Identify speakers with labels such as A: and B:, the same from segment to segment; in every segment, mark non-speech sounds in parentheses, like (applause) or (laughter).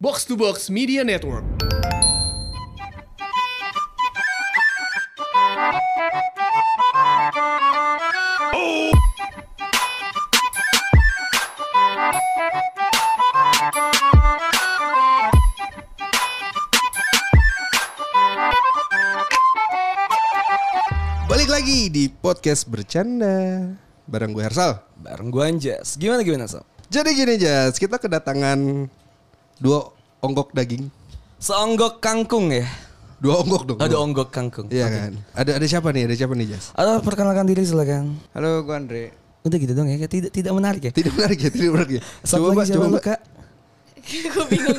A: Box to Box Media Network.
B: Balik lagi di podcast bercanda bareng gue Hersal.
C: Bareng gue Anjas. Gimana gimana Sam?
B: Jadi gini Jas, kita kedatangan dua onggok daging,
C: Seonggok kangkung ya.
B: dua onggok dong.
C: Ada Ah, onggok Ah. kangkung.
B: Iya kan. Ada ada siapa nih? Ada siapa nih Jas?
C: Halo, perkenalkan diri silakan.
D: Halo, gue Andre.
C: Udah gitu dong ya, kayak tidak tidak menarik ya.
B: Tidak menarik ya, tidak menarik ya.
C: Satu lagi siapa lu, Kak?
E: gue bingung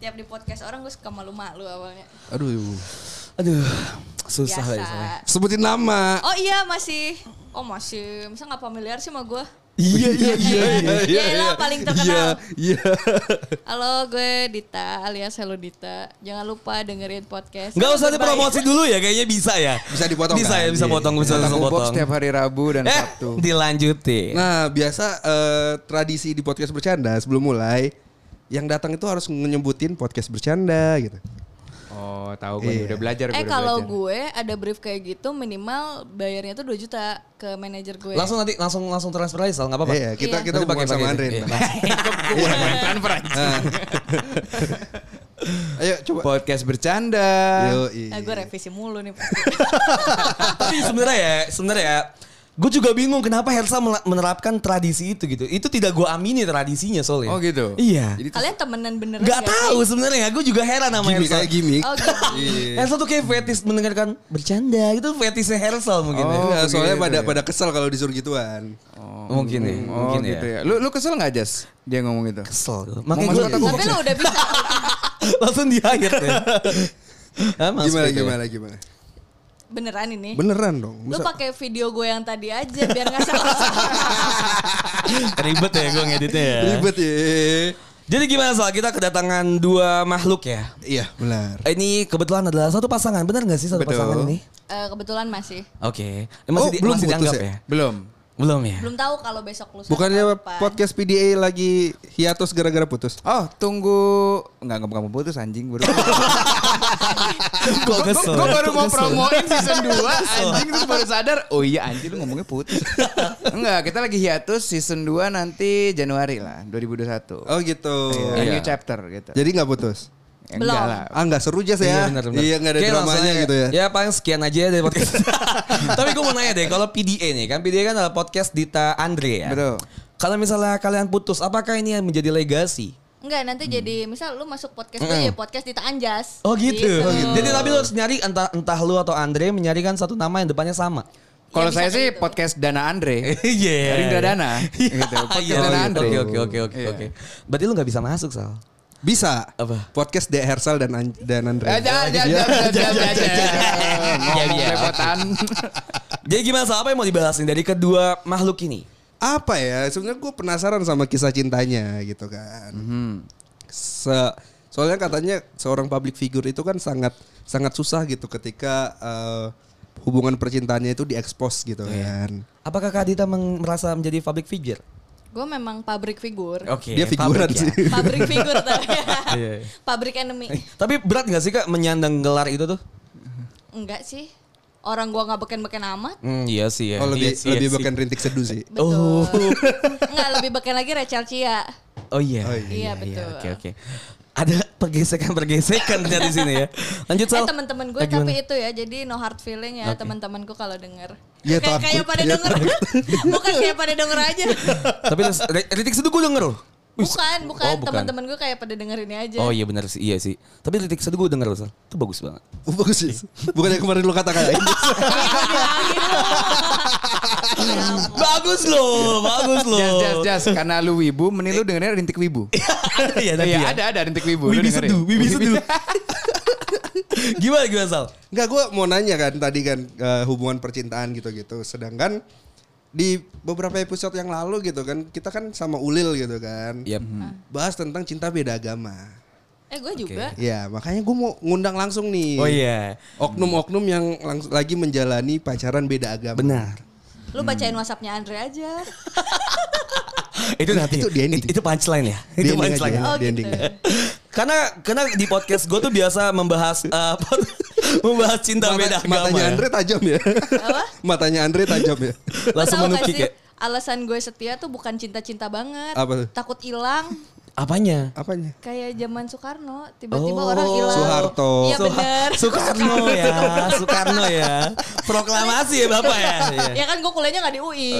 E: tiap di podcast orang gue suka malu-malu awalnya
B: Aduh,
C: Aduh, susah ya,
E: biasa
C: lagi sama.
B: sebutin nama.
E: oh iya masih oh masih masa nggak familiar sih sama gue
C: Iya (laughs) iya iya.
E: Iya, lah, paling terkenal.
B: Iya, iya.
E: halo gue Dita alias Hello Dita jangan lupa dengerin podcast
C: Enggak usah
E: Terbaik.
C: dipromosi dulu ya, kayaknya bisa ya.
B: Bisa dipotong,
C: Bisa
B: kan?
C: ya, bisa
B: Iya,
C: potong, bisa
D: Kita
C: langsung
D: Tahu box
C: potong.
D: setiap hari Rabu dan
C: Eh,
D: Sabtu. Iya.
C: dilanjutin.
B: Nah, biasa eh, tradisi di podcast bercanda sebelum mulai yang datang itu harus nyebutin podcast bercanda gitu.
D: Oh, tahu gue
B: Iya.
D: udah belajar
E: eh
D: udah
E: kalau
D: belajar.
E: gue ada brief kayak gitu minimal bayarnya tuh 2 juta ke manajer gue
C: Langsung nanti langsung langsung transfer aja, Sal, enggak apa-apa.
B: Iya, kita
E: Iya.
B: kita
C: Nanti
B: hubungan sama
C: itu.
B: Andre.
C: Iya. (laughs)
B: ntar. Ayo coba.
D: podcast bercanda.
B: Yoi.
E: nah,
C: Iya.
E: gue revisi mulu
C: (laughs)
E: nih pasti.
C: Tapi sebenarnya ya, sebenarnya ya, gue juga bingung kenapa Hersa mela- menerapkan tradisi itu gitu. Itu tidak gue amini tradisinya soalnya.
D: Oh, gitu.
C: Iya.
D: Jadi
E: kalian temenan beneran
C: Gak
E: sih?
C: tahu sebenarnya, gue juga heran sama
B: Gimik
C: Hersa.
B: kayak gimik.
C: (laughs)
E: oh gitu
C: Hersal tuh kayak fetis mendengarkan bercanda gitu fetisnya Hersal mungkin ya.
D: Oh,
B: Nah, soalnya
D: begitu
B: pada
D: ya.
B: pada kesel kalau disuruh gituan.
C: Mungkin ya,
D: Oh,
C: mungkin
D: gitu
C: ya.
D: ya. Lu lu kesel nggak Jas? Dia ngomong gitu.
C: Kesel. gua.
D: Mau
C: Makanya
D: masuk
C: gue
D: kata
E: tapi lo udah bisa
C: langsung di hire ya. Hah, gitu ya?
B: Gimana
C: maksud
D: ya?
C: gue.
B: gimana gimana?
E: beneran ini
B: Beneran dong.
E: Lu
B: Masa-
E: pakai video gue yang tadi aja biar nggak salah.
C: (laughs) (laughs) Ribet ya gue ngeditnya ya.
B: Ribet ya.
C: Jadi gimana soal kita kedatangan dua makhluk ya?
B: Iya benar.
C: Ini kebetulan adalah satu pasangan, benar gak sih satu
D: Betul.
C: pasangan ini?
E: Eh, kebetulan masih.
C: Oke, Eh,
B: Oh,
C: masih, di-
B: belum
C: masih
B: putus
C: dianggap
B: ya?
C: ya?
D: Belum.
C: Belum ya?
E: Belum tahu kalau besok lusa.
B: Bukannya
E: apa.
B: podcast PDA lagi hiatus gara-gara putus?
D: Oh, tunggu enggak kamu putus anjing (laughs) baru.
C: Gua
D: Gua-
C: kesel.
D: gua baru mau
C: Kesel.
D: promoin season 2 anjing terus baru sadar. Oh iya anjing lu ngomongnya (laughs) putus. Enggak, kita lagi hiatus season 2 nanti Januari lah 2021.
B: Oh gitu.
D: A
C: Iya.
D: new chapter gitu.
B: Jadi nggak putus?
D: Ya, enggak
E: Belum.
D: lah.
B: Ah nggak seru aja ya?
C: benar, benar.
B: Iya nggak ada
C: Oke, langsung
B: dramanya
C: aja.
B: gitu ya?
C: Ya paling sekian aja dari
B: (laughs)
C: podcast. Tapi gue mau nanya deh, kalau PDA nih kan PDA kan adalah podcast Dita Andre ya.
D: Betul.
E: Iya,
C: Kalau misalnya kalian putus, apakah ini yang menjadi legasi?
E: Enggak, nanti jadi misal lu masuk podcast gue ya podcast Dita Anjas.
C: Hmm. Oh gitu.
D: Iya.
C: Jadi tapi lu harus nyari entah entah lu atau Andre menyarikan satu nama yang depannya
B: (laughs)
C: sama.
D: Kalau
E: Ya,
D: saya
E: bisa
D: sih
E: kayak gitu.
D: podcast Dana (laughs) Andre. Eh,
C: Iya.
D: Dari Dadana,
C: Iya.
D: gitu. Podcast
C: Iya,
D: Dana
C: oh,
D: Andre.
C: Oke oke oke oke
D: Iya.
C: oke. Berarti lu nggak bisa masuk Sal.
B: Bisa.
C: Apa? Eh,
B: Podcast D Hersal dan An- dan Andre.
D: Jangan, jangan, jangan, jangan, jangan.
C: Iya, iya.
D: (laughs) Lepotan.
C: Jadi gimana Sal? Apa yang mau dibahas nih dari kedua makhluk ini?
B: apa ya sebenarnya gue penasaran sama kisah cintanya gitu kan
C: Mhm.
B: Se- soalnya katanya seorang public figure itu kan sangat sangat susah gitu ketika eh, hubungan percintaannya itu diekspos gitu
C: Iya.
B: kan
C: Apakah Kak Dita meng- merasa menjadi public figure?
E: Gue memang pabrik figur. (laughs)
C: Oke.
B: dia figuran
C: public ya.
B: sih
E: Pabrik figur tapi.
C: (laughs) Iya, iya.
E: pabrik enemy.
C: Tapi berat gak sih kak menyandang gelar itu tuh?
E: Enggak sih. Orang gua nggak beken-beken amat.
C: Hmm, iya sih ya.
B: oh lebih
C: Iya sih,
B: lebih
C: iya
B: bukan rintik seduh sih
C: Oh. (laughs)
E: Betul. Enggak, lebih beken lagi Rachel Chia.
C: sih. Oh iya.
B: Oh iya,
E: Iya, betul.
C: Oke oke. Ada (laughs) pergesekan-pergesekan ternyata di sini ya. Lanjut Sal.
E: Eh teman-teman gue
C: Eh, gimana?
E: tapi itu ya jadi no hard feeling ya teman-temanku kalau denger.
B: Iya,
E: kayak
B: takut.
E: kayak pada
B: Iya,
E: denger. (laughs) Bukan kayak pada denger aja.
C: Tapi terus, re- Ritik Seduh gue denger loh. Wih,
E: Bukan, bukan.
C: Oh, bukan.
E: Teman-teman gue kayak pada dengerin aja.
C: Oh iya benar sih, iya sih. Tapi Ritik Seduh gue denger loh Sal. Itu bagus banget.
B: oh, bagus sih bukan yang kemarin lu katakan
C: (laughs) bagus loh, bagus loh.
D: Jas, jas, jas. Karena lu wibu, mending lu dengerin rintik wibu.
C: Iya tadi
D: Eh. Iya,
C: ya.
D: ada, ada rintik wibu. lu
C: Wibi
D: dengerin.
C: Seduh, Wibi (laughs) Seduh. gimana gimana Sal?
B: Enggak, gue mau nanya kan tadi kan eh, hubungan percintaan gitu-gitu. Sedangkan di beberapa episode yang lalu gitu kan kita kan sama Ulil gitu kan.
C: Yap.
B: Bahas tentang cinta beda agama.
E: Eh gue juga.
B: Ya makanya gue mau ngundang langsung nih.
C: Oh iya.
B: Oknum-oknum yang langs- lagi menjalani pacaran beda agama.
C: Benar.
E: Lu bacain WhatsAppnya Andre aja.
C: itu nanti.
B: Nah, Itu di ending.
C: Itu, itu punchline ya.
B: Di ending
C: Itu punchline.
B: aja.
E: Oh
B: Di
E: gitu.
B: endingnya.
C: Karena karena di podcast gue tuh biasa membahas eh, apa (laughs) membahas cinta beda
B: Mata-
C: agama.
B: matanya
C: ya.
B: Andre tajam ya.
E: Apa?
B: (laughs) matanya Andre tajam ya.
E: Lo
C: Langsung
E: tau gak
C: menukik
E: sih,
C: ya.
E: alasan gue setia tuh bukan cinta-cinta banget.
B: Apa tuh?
E: Takut hilang.
C: Apanya?
B: Apanya?
E: Kayak zaman Soekarno, tiba-tiba orang hilang.
B: Soeharto.
E: Iya
C: Soha-
E: bener.
C: Soekarno ya, Soekarno ya. Proklamasi ya Bapak ya. Iya.
E: ya kan gue kuliahnya gak di UI.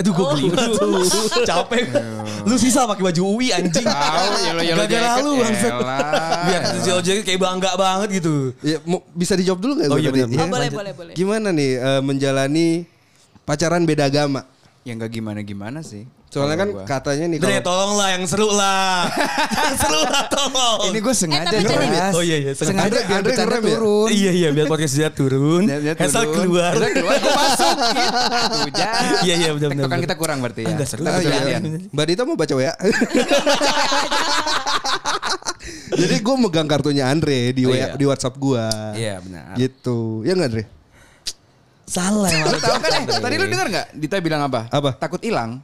C: Aduh gue geli banget.
E: Oh.
C: Capek gua. Lu sisa pakai baju UI anjing
D: Tahu, yellow-yellow
C: Gara-gara
D: jacket,
C: lu bangsat.
D: elah.
C: Biar yellow jacket kayak bangga banget gitu
B: Ya, mau- bisa dijawab dulu nggak? gua
C: Oh, iya,
B: tadi?
C: benar.
E: Oh,
B: Ya?
E: boleh, boleh, boleh.
B: Gimana nih eh, menjalani pacaran beda agama?
D: Ya nggak gimana-gimana sih.
B: Soalnya kan
D: Kalau gua.
B: katanya nih
C: Dre
B: kalau
C: tolong lah yang seru
B: (laughs)
C: lah Yang seru lah tolong
D: ini gue sengaja
E: Oh. Eh, tapi jadi-
D: Mas.
C: Oh, iya, iya,
D: sengaja
B: sengaja.
D: biar
B: Andre
D: bercanda
B: ngerem ya?
D: turun.
C: Iya iya biar podcast dia turun
D: Biar- biar
C: Hesal
D: turun.
C: keluar
D: Hesal keluar,
C: (laughs)
D: gua masuk. Hujan.
C: Iya iya benar benar
D: Tektokan kita kurang berarti ya.
C: Enggak seru.
D: Kita
B: Oh, iya.
D: sekalian.
B: Mbak Dita mau baca WA. Jadi gue megang kartunya Andre di
C: Oh,
B: WA,
C: iya.
B: di WhatsApp gue.
D: Iya, benar.
B: Gitu. Ya nggak Andre?
C: Salah
D: Lu
C: emang
D: tahu kan eh,
C: Iya.
D: tadi lu dengar nggak Dita bilang apa?
B: Apa?
D: Takut hilang.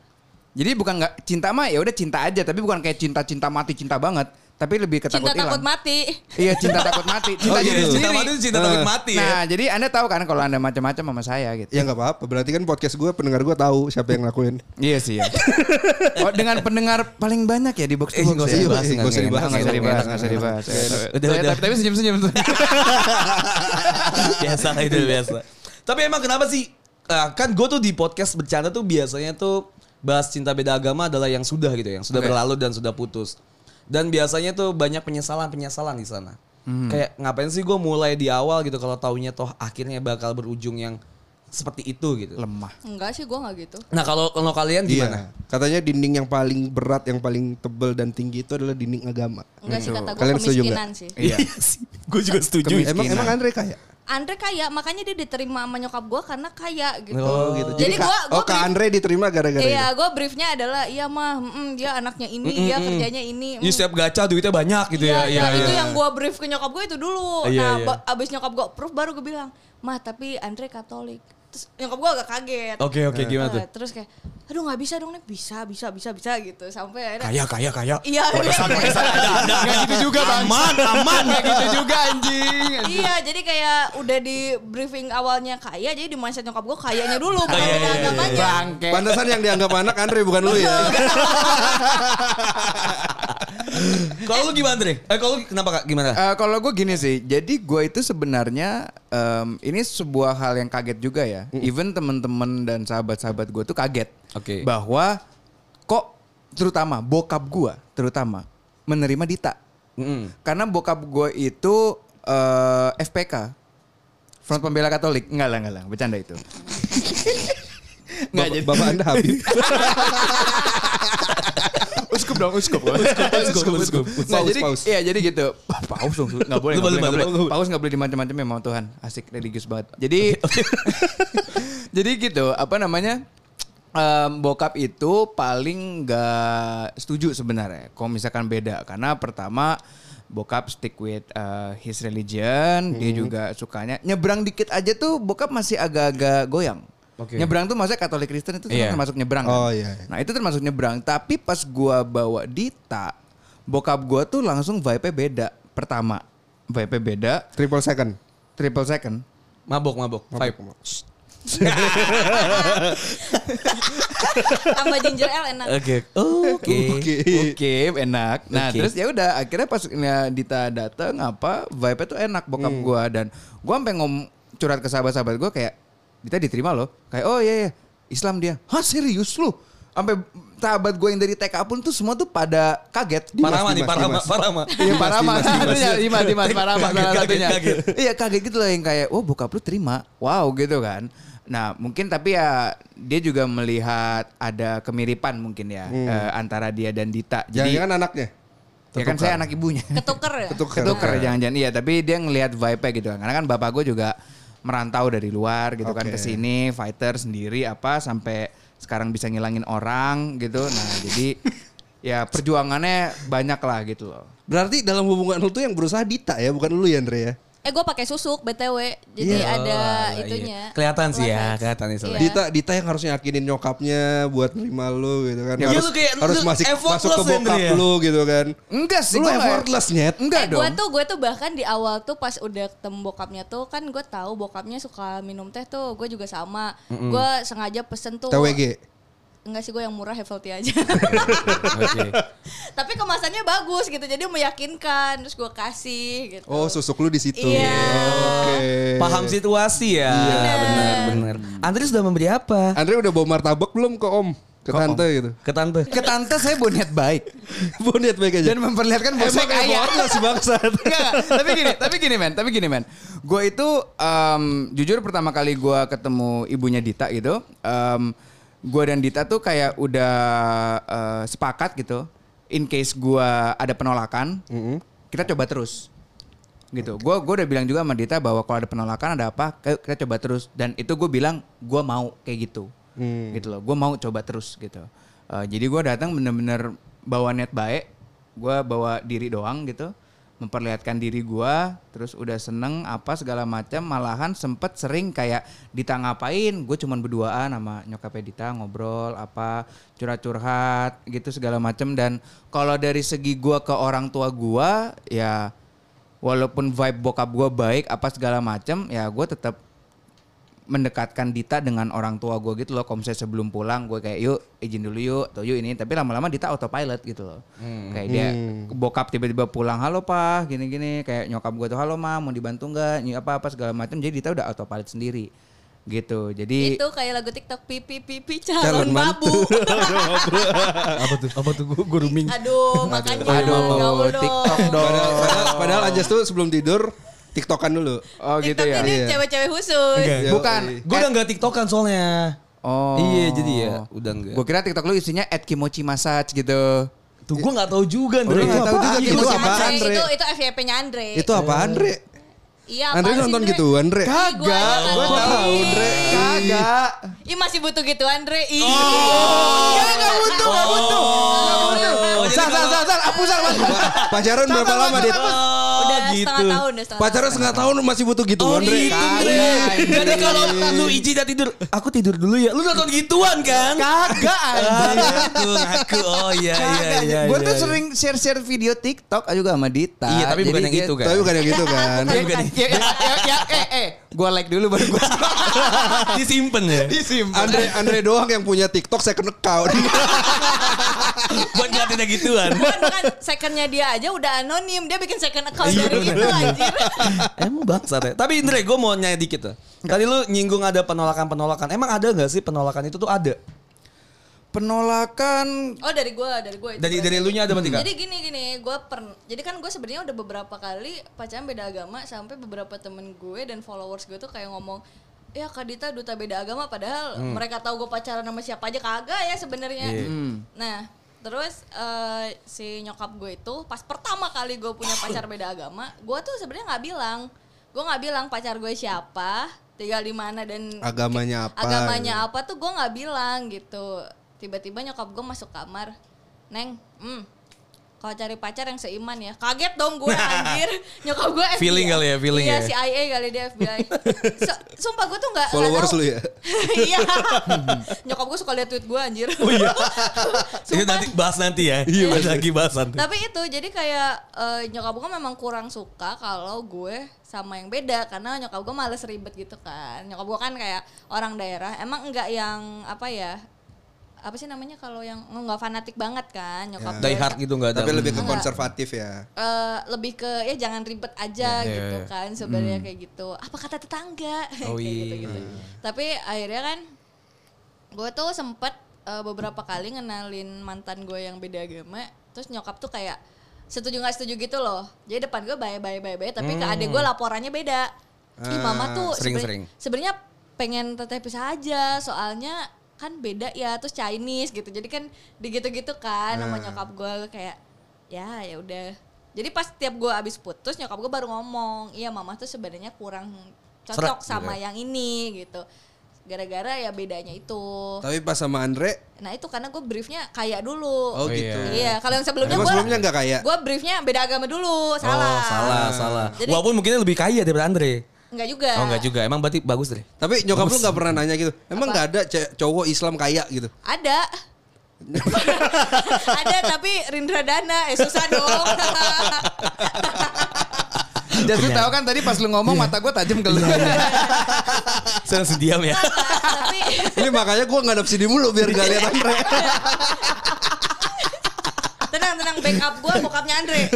D: Jadi bukan nggak cinta mah ya udah cinta aja tapi bukan kayak cinta-cinta mati cinta banget tapi lebih ke
E: Cinta
D: takut
E: takut
D: hilang.
E: mati.
D: Iya cinta takut mati.
C: Oh,
D: Cinta diri
C: iya, cinta
D: sendiri.
C: mati itu cinta takut
B: Eh.
C: mati ya.
D: Nah jadi anda tahu kan kalau anda macam-macam sama saya gitu.
B: Ya nggak apa-apa. Berarti kan podcast gue pendengar gue tahu siapa yang ngelakuin.
D: Iya sih ya. (laughs) Oh, dengan pendengar paling banyak ya di box
C: Eh,
D: to box.
C: nggak usah
D: ya?
C: dibahas,
D: Iya,
B: nggak usah dibahas.
D: Nggak usah dibahas, nggak usah dibahas.
C: Udah,
D: Tapi-
C: udah.
D: Tapi tapi (laughs) senyum-senyum.
C: (laughs) biasa lah, itu biasa. Tapi emang kenapa sih? Eh, kan gue tuh di podcast bercanda tuh biasanya tuh bahas cinta beda agama adalah yang sudah gitu, yang sudah
D: Oke.
C: berlalu dan sudah putus. Dan biasanya tuh banyak penyesalan-penyesalan di sana.
D: Hmm.
C: Kayak ngapain sih gue mulai di awal gitu kalau taunya toh akhirnya bakal berujung yang seperti itu gitu.
D: Lemah.
E: Enggak sih gue gak gitu.
C: Nah kalau kalau kalian gimana?
B: Iya. Katanya dinding yang paling berat, yang paling tebel dan tinggi itu adalah dinding agama.
E: Enggak sih kata gue
B: Kalian setuju
E: kemiskinan sih.
C: (laughs)
D: Iya.
C: gue juga setuju.
D: Kemiskinan.
B: Emang emang Andre kaya?
E: Andre kaya, makanya dia diterima sama nyokap gue karena kaya gitu.
C: Oh, gitu.
E: Jadi,
B: Ka-
E: gue
B: oh, Kak Andre diterima gara-gara
E: Iya,
B: itu.
E: gue briefnya adalah iya mah, mm, dia anaknya ini, dia kerjanya ini. mm.
C: Ini setiap gacha duitnya banyak gitu
E: Iya,
C: ya.
E: iya, itu yang gue brief ke nyokap gue itu dulu.
C: Iya,
E: nah,
C: iya.
E: ba- abis nyokap gue approve baru gue bilang, mah tapi Andre Katolik. Terus nyokap gue agak kaget.
C: Oke oke
D: Iya.
C: gimana tuh?
E: Eh, Terus kayak, aduh nggak bisa dong nih, bisa, bisa, bisa, bisa gitu. Sampai akhirnya,
C: Kaya kaya kaya.
E: iya,
D: Nggak gitu juga bang.
C: Aman
D: (laughs)
C: aman.
D: Nggak gitu juga anjing.
E: (laughs) iya, jadi kayak udah di briefing awalnya kaya, jadi di mindset nyokap gue kayanya
C: (laughs)
E: dulu, bukan
C: Iya, iya,
E: beda
C: iya,
E: agamanya.
D: Bangke.
B: Pantesan yang dianggap anak Andre bukan lu ya.
C: Kalau lu gimana Dre? Eh kalau lu kenapa kak? Gimana?
D: Eh, kalau gue gini sih, jadi gue itu sebenarnya em, ini sebuah hal yang kaget juga ya. Even temen-temen dan sahabat-sahabat gue tuh kaget
C: Oke.
D: bahwa kok terutama bokap gue terutama menerima Dita
C: Mm-mm.
D: karena bokap gue itu eh, FPK Front Pembela Katolik nggak lah nggak lah bercanda itu nggak
B: Bapak,
D: jadi
B: bapak anda
E: (laughs)
B: Habib.
D: uskup dong uskup
C: uskup, uskup.
D: Nah,
B: Paus,
D: jadi
B: paus.
D: iya jadi gitu. Paus dong, enggak boleh.
C: Lu boleh,
D: nggak boleh, nggak
C: boleh,
D: boleh.
C: boleh.
D: Paus enggak boleh dimacam-macam memang Tuhan. Asik religius banget. Jadi (laughs) Jadi gitu, apa namanya? em, bokap itu paling nggak setuju sebenarnya kalau misalkan beda karena pertama bokap stick with eh, his religion dia juga sukanya nyebrang dikit aja tuh bokap masih agak-agag goyang
C: Oke.
D: nyebrang tuh maksudnya Katolik Kristen itu
C: Iya.
D: termasuk nyebrang
B: Oh,
D: kan?
B: iya, iya.
D: Nah itu termasuk nyebrang. Tapi pas gua bawa Dita, bokap gua tuh langsung vibe-nya beda. Pertama, vibe-nya beda.
B: Triple second.
D: Triple second.
C: Mabok mabok. Five.
E: Tambah ginger ale
C: (laughs)
E: enak.
C: Oke.
D: Eh,
C: Oke.
D: Oke, enak. Nah
C: Oke.
D: terus ya udah akhirnya pas ya, Dita dateng apa vibe-nya tuh enak bokap
B: Hmm.
D: gua dan gua sampai ngom curhat ke sahabat-sahabat gua kayak Dita diterima loh. Kayak oh iya iya Islam dia. Hah serius lu? Sampai sahabat gua yang dari TK pun tuh semua tuh pada kaget.
C: Parama nih
B: Dimas,
C: parama
B: Dimas.
C: parama.
D: Iya Parama
B: Dimas,
D: salah
B: Dimas.
D: satunya Dimas Dimas
C: Kaget,
D: Parama salah
C: kaget,
D: satunya.
C: kaget.
D: Iya kaget gitu lah yang kayak oh bokap lu terima. Wow gitu kan. Nah mungkin tapi ya dia juga melihat ada kemiripan mungkin ya eh, antara dia dan Dita.
B: Jadi
D: Jadi
B: Hmm. kan anaknya.
D: ya kan saya anak ibunya.
E: Ketuker ya?
B: Ketuker.
D: Ketuker jangan-jangan iya tapi dia ngelihat vibe-nya gitu kan. Karena kan bapak gue juga merantau dari luar gitu kan
B: Oke.
D: ke sini fighter sendiri apa sampai sekarang bisa ngilangin orang gitu. Nah jadi ya perjuangannya banyak lah gitu loh.
B: Berarti dalam hubungan lu tuh yang berusaha Dita ya, bukan lu ya Andre ya.
E: Eh gue pakai susuk btw, jadi
C: Iya.
E: ada
C: Oh, iya.
E: itunya.
C: Kelihatan sih ya,
E: Warna.
C: kelihatan nih soalnya.
E: Iya.
B: Dita, Dita yang harus yakinin nyokapnya buat nerima lu gitu kan.
C: Ya,
B: harus
C: lu kayak-
B: harus
C: lu
B: masih
C: effortless, ya,
B: masuk ke bokap
C: Andrea.
B: lu gitu kan.
D: Enggak sih.
B: Lu
D: gua nggak-
B: effortless nyet.
D: Enggak
E: eh,
D: dong.
E: gue tuh gue tuh bahkan di awal tuh pas udah ketemu bokapnya tuh kan gue tahu bokapnya suka minum teh tuh gue juga sama gue sengaja pesen tuh
B: TWG.
E: enggak sih gue yang murah Hevelty aja (laughs) tapi kemasannya bagus gitu jadi meyakinkan terus gue kasih gitu
B: Oh, susuk lu di situ.
E: Iya.
B: Oke.
C: Paham situasi
D: Iya,
C: ya. Benar, benar. Andri sudah memberi apa?
B: Andre udah bawa martabak belum ke Om? Ke
D: Ke
B: tante
D: Om.
B: gitu.
C: Ke tante.
D: Ke tante saya bonet
C: (laughs)
D: baik
B: Bonet baik aja.
D: dan memperlihatkan bahwa saya
B: Emang
D: Kan kaya.
B: effortless bangsat.
D: Enggak, enggak. tapi gini, tapi gini men, tapi gini men. Gue itu em, jujur pertama kali gue ketemu ibunya Dita gitu, em, gue dan Dita tuh kayak udah eh, sepakat gitu. In case gue ada penolakan, kita coba terus gitu. Gue gua udah bilang juga sama Dita bahwa kalau ada penolakan ada apa, ke- kita coba terus. Dan itu gue bilang gue mau kayak gitu, gitu loh. Gue mau coba terus gitu. Eh, jadi gue datang bener-bener bawa net baik, gue bawa diri doang gitu, memperlihatkan diri gue, terus udah seneng apa segala macam. Malahan sempet sering kayak Dita ngapain, gue cuman berduaan sama nyokapnya Dita ngobrol apa curhat-curhat gitu segala macam. Dan kalau dari segi gue ke orang tua gue, ya walaupun vibe bokap gue baik apa segala macam ya gue tetap mendekatkan Dita dengan orang tua gue gitu loh. Kalau misalnya sebelum pulang gue kayak yuk izin dulu yuk atau yuk ini. Tapi lama-lama Dita autopilot gitu loh. Kayak dia bokap tiba-tiba pulang halo pak gini-gini. Kayak nyokap gue tuh halo ma mau dibantu nggak Ny- apa-apa segala macam. Jadi Dita udah autopilot sendiri gitu. Jadi
E: itu kayak lagu tiktok pipi pipi calon, babu
C: apa tuh? Apa tuh? Gue grooming.
E: aduh makanya
D: Aduh,
E: gaul dong.
D: TikTok dong.
B: Padahal, padahal, padahal Anjas tuh sebelum tidur tiktokan dulu.
E: (laughs)
D: Oh gitu
E: TikTok
D: ya.
E: ini
B: Iya.
E: cewek-cewek khusus
B: Iya.
D: Bukan.
C: Gue udah nggak tiktokan soalnya.
D: Oh.
C: Iya, jadi ya udah nggak.
D: Gue kira TikTok lu isinya at kimochi massage gitu.
C: Tuh gue nggak tahu juga.
B: Lu Oh, iya. nggak tahu juga
E: itu,
B: Itu
E: si
B: apaan,
E: Andre,
B: Re?
E: itu itu FYP-nya Andre
B: Itu apa Andre?
E: iya apaan
B: Andre
E: sih,
B: nonton
E: Re?
B: gitu Andre.
E: Ih, gua aja
D: Kagak,
E: nggak
D: gue
E: nonton.
D: tahu Dre. Kagak.
E: Ih masih butuh gitu Andre. Ih.
C: Oh.
E: Iya,
D: Enggak, enggak butuh, enggak butuh. Enggak butuh. Sal, sal, sal, sal, hapus, sal, hapus.
B: Pacaran berapa lama Dit?
E: Udah
C: gitu.
E: setengah tahun, udah setengah.
B: Pacaran setengah tahun masih butuh gitu
C: Oh
B: Andre.
C: gitu Andre. Jadi kalau lu izin dan tidur, aku tidur dulu ya. Lu nonton gituan kan? (laughs)
D: Kagak
C: Ah,
D: anjing.
C: ngaku, ngaku. Oh iya, iya, iya.
D: Gue tuh
C: iya.
D: sering share-share video TikTok juga sama Dita.
C: Iya, tapi bukan
D: Jadi
C: yang
D: dia-
C: itu kan.
B: Tapi bukan yang gitu kan.
D: Iya, iya, iya, iya, iya, eh, eh, gue like dulu baru gue
C: (laughs) (laughs) Disimpen ya.
D: disimpan.
B: Andre Andre doang yang punya TikTok second
C: (laughs)
B: account.
C: Buat ngeliatin yang gituan.
E: Bukan, bukan. Secondnya dia aja udah anonim. Dia bikin second account
C: Iya,
E: dari
C: bener.
E: itu anjir.
C: Emang bangsat ya. Tapi Indre, gue mau nyanyi dikit tuh. Tadi lu nyinggung ada penolakan-penolakan. Emang ada nggak sih penolakan itu tuh ada?
D: Penolakan
E: Oh dari gue, dari gue. itu
C: Dari
E: berarti.
C: dari lu nya ada berarti nggak?
E: Jadi gini gini, gue pernah. Jadi kan gue sebenarnya udah beberapa kali pacaran beda agama sampai beberapa temen gue dan followers gue tuh kayak ngomong, ya Kak Dita duta beda agama. Padahal
C: Hmm.
E: mereka tahu gue pacaran sama siapa aja kagak ya sebenarnya.
C: Iya.
E: Nah terus eh, si nyokap gue itu pas pertama kali gue punya pacar beda agama, gue tuh sebenarnya nggak bilang, gue nggak bilang pacar gue siapa, tinggal di mana dan
B: Agamanya apa?
E: agamanya apa tuh gue nggak bilang gitu tiba-tiba nyokap gue masuk kamar neng hmm kalau cari pacar yang seiman ya kaget dong gue anjir nyokap gue FBI
C: Feeling kali ya, feeling
E: iya
C: ya.
E: CIA kali dia FBI So- sumpah gue tuh nggak nggak
B: Followers
E: tahu.
B: lu ya?
E: (laughs) iya nyokap gue suka lihat tweet gue anjir
C: Itu nanti bahas nanti ya. Iya, lagi bahas nanti.
E: tapi itu jadi kayak eh, nyokap gue memang kurang suka kalau gue sama yang beda karena nyokap gue males ribet gitu kan nyokap gue kan kayak orang daerah emang enggak yang apa ya apa sih namanya kalau yang enggak fanatik banget kan nyokap
C: Die
E: gue
C: hard gitu nggak ada.
B: Tapi lebih ke konservatif ya.
E: Eh, lebih ke ya jangan ribet aja gitu kan sebenarnya kayak gitu apa kata tetangga
C: Mm.
E: (laughs)
C: Oh,
E: kayak
C: iya.
E: gitu-gitu. tapi akhirnya kan gue tuh sempet eh, beberapa kali ngenalin mantan gue yang beda agama terus nyokap tuh kayak setuju nggak setuju gitu loh jadi depan gue bye bye bye bye tapi ke adik gue laporannya beda Ih mama
C: Hmm. Ah,
E: tuh
C: sering,
E: sebenarnya- sebenarnya pengen teteh pisah aja soalnya kan beda ya terus Chinese gitu jadi kan digitu-gitu kan
C: Ah.
E: sama nyokap gue kayak ya ya udah jadi pas tiap gue abis putus nyokap gue baru ngomong iya mama tuh sebenarnya kurang
C: Serak,
E: cocok sama
C: gitu.
E: yang ini gitu gara-gara ya bedanya itu
B: Tapi pas sama Andre,
E: nah itu karena gue briefnya kaya dulu
B: oh, gitu.
E: iya kalau yang sebelumnya
B: Emang
E: gue
B: sebelumnya nggak kaya?
E: gue briefnya beda agama dulu salah
C: Oh, salah, salah.
E: Jadi-
C: Walaupun mungkin lebih kaya daripada Andre.
E: nggak juga
C: Oh, enggak juga. Emang berarti bagus
D: (laughs)
C: deh.
B: Tapi nyokap lu nggak pernah nanya gitu. Emang nggak ada ce- cowok Islam kaya gitu?
E: ada ada tapi Rindra Dana eh susah dong (laughs)
D: Jasmine tahu kan tadi pas lu
C: Iya.
D: ngomong mata gue tajam ke lu.
C: Saya langsung diam ya.
E: tapi
B: Ini makanya gue ngadap sini mulu biar gak lihat Andre.
E: tenang tenang backup gue bokapnya Andre
C: (laughs)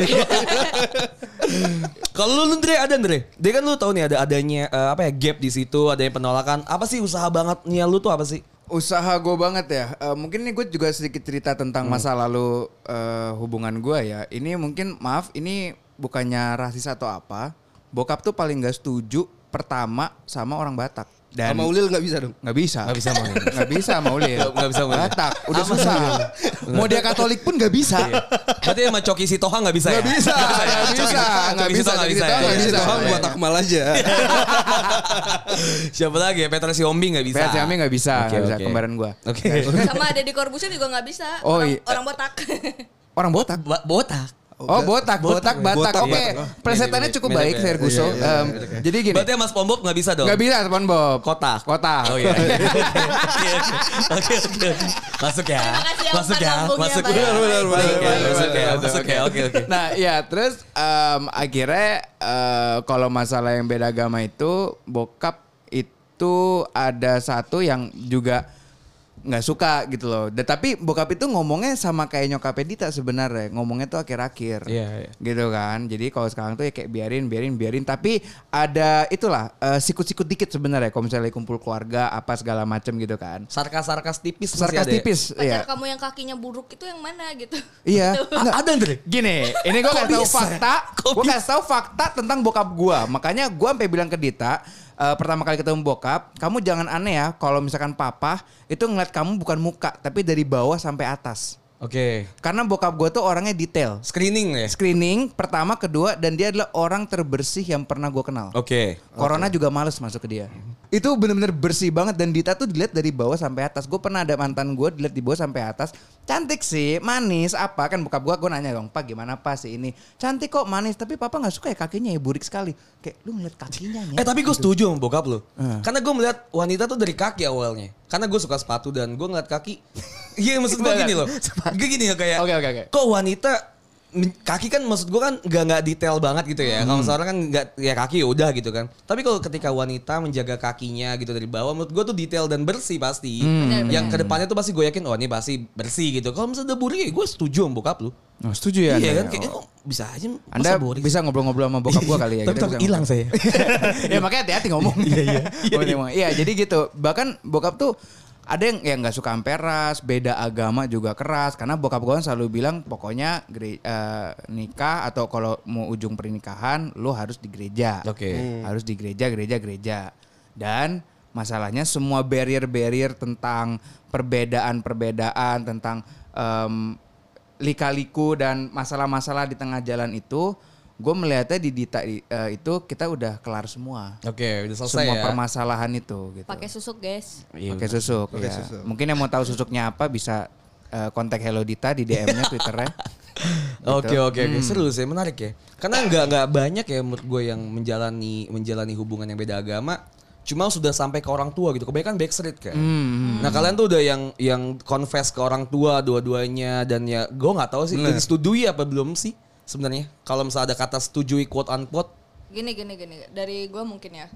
C: Kalau lu Andre ada Andre. Dia kan lu tahu nih ada adanya eh, apa ya gap di situ, ada yang penolakan. Apa sih usaha bangetnya lu tuh apa sih?
D: Usaha gue banget ya. Eh, mungkin ini gue juga sedikit cerita tentang
C: Hmm.
D: masa lalu eh, hubungan gue ya. Ini mungkin maaf ini bukannya rasis atau apa. Bokap tuh paling gak setuju pertama sama orang Batak. Dan
B: Sama Ulil nggak bisa dong.
D: nggak bisa.
C: Nggak bisa sama Ulil.
D: Nggak bisa sama Ulil.
C: Nggak- nggak bisa Iya. sama Ulil.
D: Batak. Udah susah. Mau dia Katolik pun nggak bisa.
C: Iya, Berarti sama Coki Sitoha nggak bisa ya?
D: Nggak bisa, nggak
C: Coki-
D: bisa,
C: Coki
D: nggak
C: Sitohang
D: bisa,
C: nggak bisa.
D: Coki Sitohang
C: ya?
B: Kalau
D: nggak
B: di
D: bisa.
B: Sitohang
D: iya,
B: gue
D: iya.
B: takmal aja.
C: (laughs) Siapa lagi ya? Petra Siombing nggak bisa.
D: Pet Siami nggak bisa.
C: Oke,
D: nggak bisa.
C: oke.
D: Kembaran gue.
C: Oke.
E: sama ada di Corbusier juga nggak bisa
D: Oh,
E: orang,
D: iya.
E: orang botak
D: Orang Botak.
C: Ba- Botak. Iya,
D: Oh botak, botak, batak.
B: Botak,
D: Oke,
B: Batak.
D: presetannya
C: Mirip,
D: cukup
C: mirip,
D: baik,
C: mirip.
D: Ferguson.
B: Iya, iya,
D: Em,
B: mirip,
D: Jadi gini,
C: Berarti Mas Pombok nggak bisa dong.
D: nggak bisa SpongeBob.
C: Kotak.
D: Kotak.
C: Oh iya. Oke, Oke oke oke. Masuk ya.
E: Terima kasih yang
C: Masuk ya.
E: akan lambungnya,
C: Masuk
E: Pak.
C: ya.
E: Benar,
B: benar, benar,
C: Masuk ya.
B: benar,
C: Masuk ya.
D: benar,
C: Masuk ya.
D: benar.
C: Oke oke.
D: (laughs) Nah, ya terus em, akhirnya eh, kalau masalah yang beda agama itu bokap itu ada satu yang juga nggak suka gitu loh. Dan tapi bokap itu ngomongnya sama kayak nyokapnya Dita sebenarnya, ngomongnya tuh akhir-akhir.
C: Iya, iya.
D: Gitu kan. Jadi kalau sekarang tuh ya kayak biarin, biarin, biarin. Tapi ada itulah eh, sikut-sikut dikit sebenarnya. Kalau misalnya kumpul keluarga apa segala macem gitu kan.
C: Sarkas-sarkas tipis masih
D: Sarkas
C: ada ya?
D: tipis,
E: pacar
D: ya.
E: kamu yang kakinya buruk itu yang mana gitu
D: Iya.
C: A- Ada Andre.
D: Gini, ini gue
C: Kok
D: kasih tahu
C: bisa?
D: fakta,
C: Kok
D: gue kasih tahu fakta tentang bokap gue. Makanya gue sampai bilang ke Dita, eh, pertama kali ketemu bokap, kamu jangan aneh ya kalau misalkan papa itu ngeliat kamu bukan muka, tapi dari bawah sampai atas.
C: Oke.
D: Karena bokap gue tuh orangnya detail.
C: Screening ya.
D: Screening pertama, kedua, dan dia adalah orang terbersih yang pernah gue kenal.
C: Oke.
D: Corona juga males masuk ke dia. Itu bener-bener bersih banget dan Dita tuh dilihat dari bawah sampai atas. Gue pernah ada mantan gue dilihat di bawah sampai atas. Cantik sih, manis, apa kan bokap gue gue nanya dong, Pak gimana Pak sih ini? Cantik kok manis, tapi Papa nggak suka ya kakinya ya burik sekali. Kayak lu ngeliat kakinya ya.
C: Eh tapi gue setuju sama bokap lo. Karena gue melihat wanita tuh dari kaki awalnya. Karena gue suka sepatu dan gue ngeliat kaki. (laughs) Iya maksud gue gini loh. Gue gini loh kayak.
D: Oke, oke, oke.
C: Kok wanita men- kaki kan maksud gue kan nggak nggak detail banget gitu ya.
D: Hmm.
C: Kalau seorang kan nggak ya kaki ya udah gitu kan. Tapi kalau ketika wanita menjaga kakinya gitu dari bawah, menurut gue tuh detail dan bersih pasti.
D: Hmm.
C: Yang kedepannya tuh pasti gue yakin oh ini pasti bersih gitu. Kalau misalnya ada burik ya gue setuju sama bokap lo.
D: Oh, setuju ya.
C: iya
D: Anda
C: kan
D: ya?
C: kayaknya kok bisa aja. masa
D: Anda
C: burik?
D: bisa ngobrol-ngobrol sama bokap gue kali ya.
C: Tapi
D: kita
C: takut
D: bisa
C: hilang
D: ngobrol.
C: saya.
D: (laughs) ya makanya hati-hati (laughs) ngomong. Iya iya. Iya jadi gitu. Bahkan bokap tuh ada yang yang nggak suka amperas, beda agama juga keras karena bokap gue selalu bilang pokoknya gere- eh, nikah atau kalau mau ujung pernikahan lu harus di gereja.
C: Oke.
D: Harus di gereja, gereja, gereja. Dan masalahnya semua barrier-barrier tentang perbedaan-perbedaan tentang em, lika-liku dan masalah-masalah di tengah jalan itu, gue melihatnya di Dita i- eh, itu kita udah kelar semua.
C: Oke, udah selesai
D: semua
C: ya.
D: permasalahan itu gitu.
E: pakai susuk guys
C: Iya,
D: Pakai susuk, ya. Mungkin yang mau tahu susuknya apa bisa eh, kontak Hello Dita di DM-nya (laughs) Twitternya.
C: Oke oke oke seru sih menarik ya karena nggak nggak banyak ya menurut gue yang menjalani menjalani hubungan yang beda agama cuma sudah sampai ke orang tua gitu kebanyakan backstreet kan nah kalian tuh udah yang yang confess ke orang tua dua-duanya dan ya gue nggak tahu sih udah disetujui apa belum sih sebenarnya kalau misalnya ada kata setujui quote unquote
E: gini gini gini dari gue mungkin ya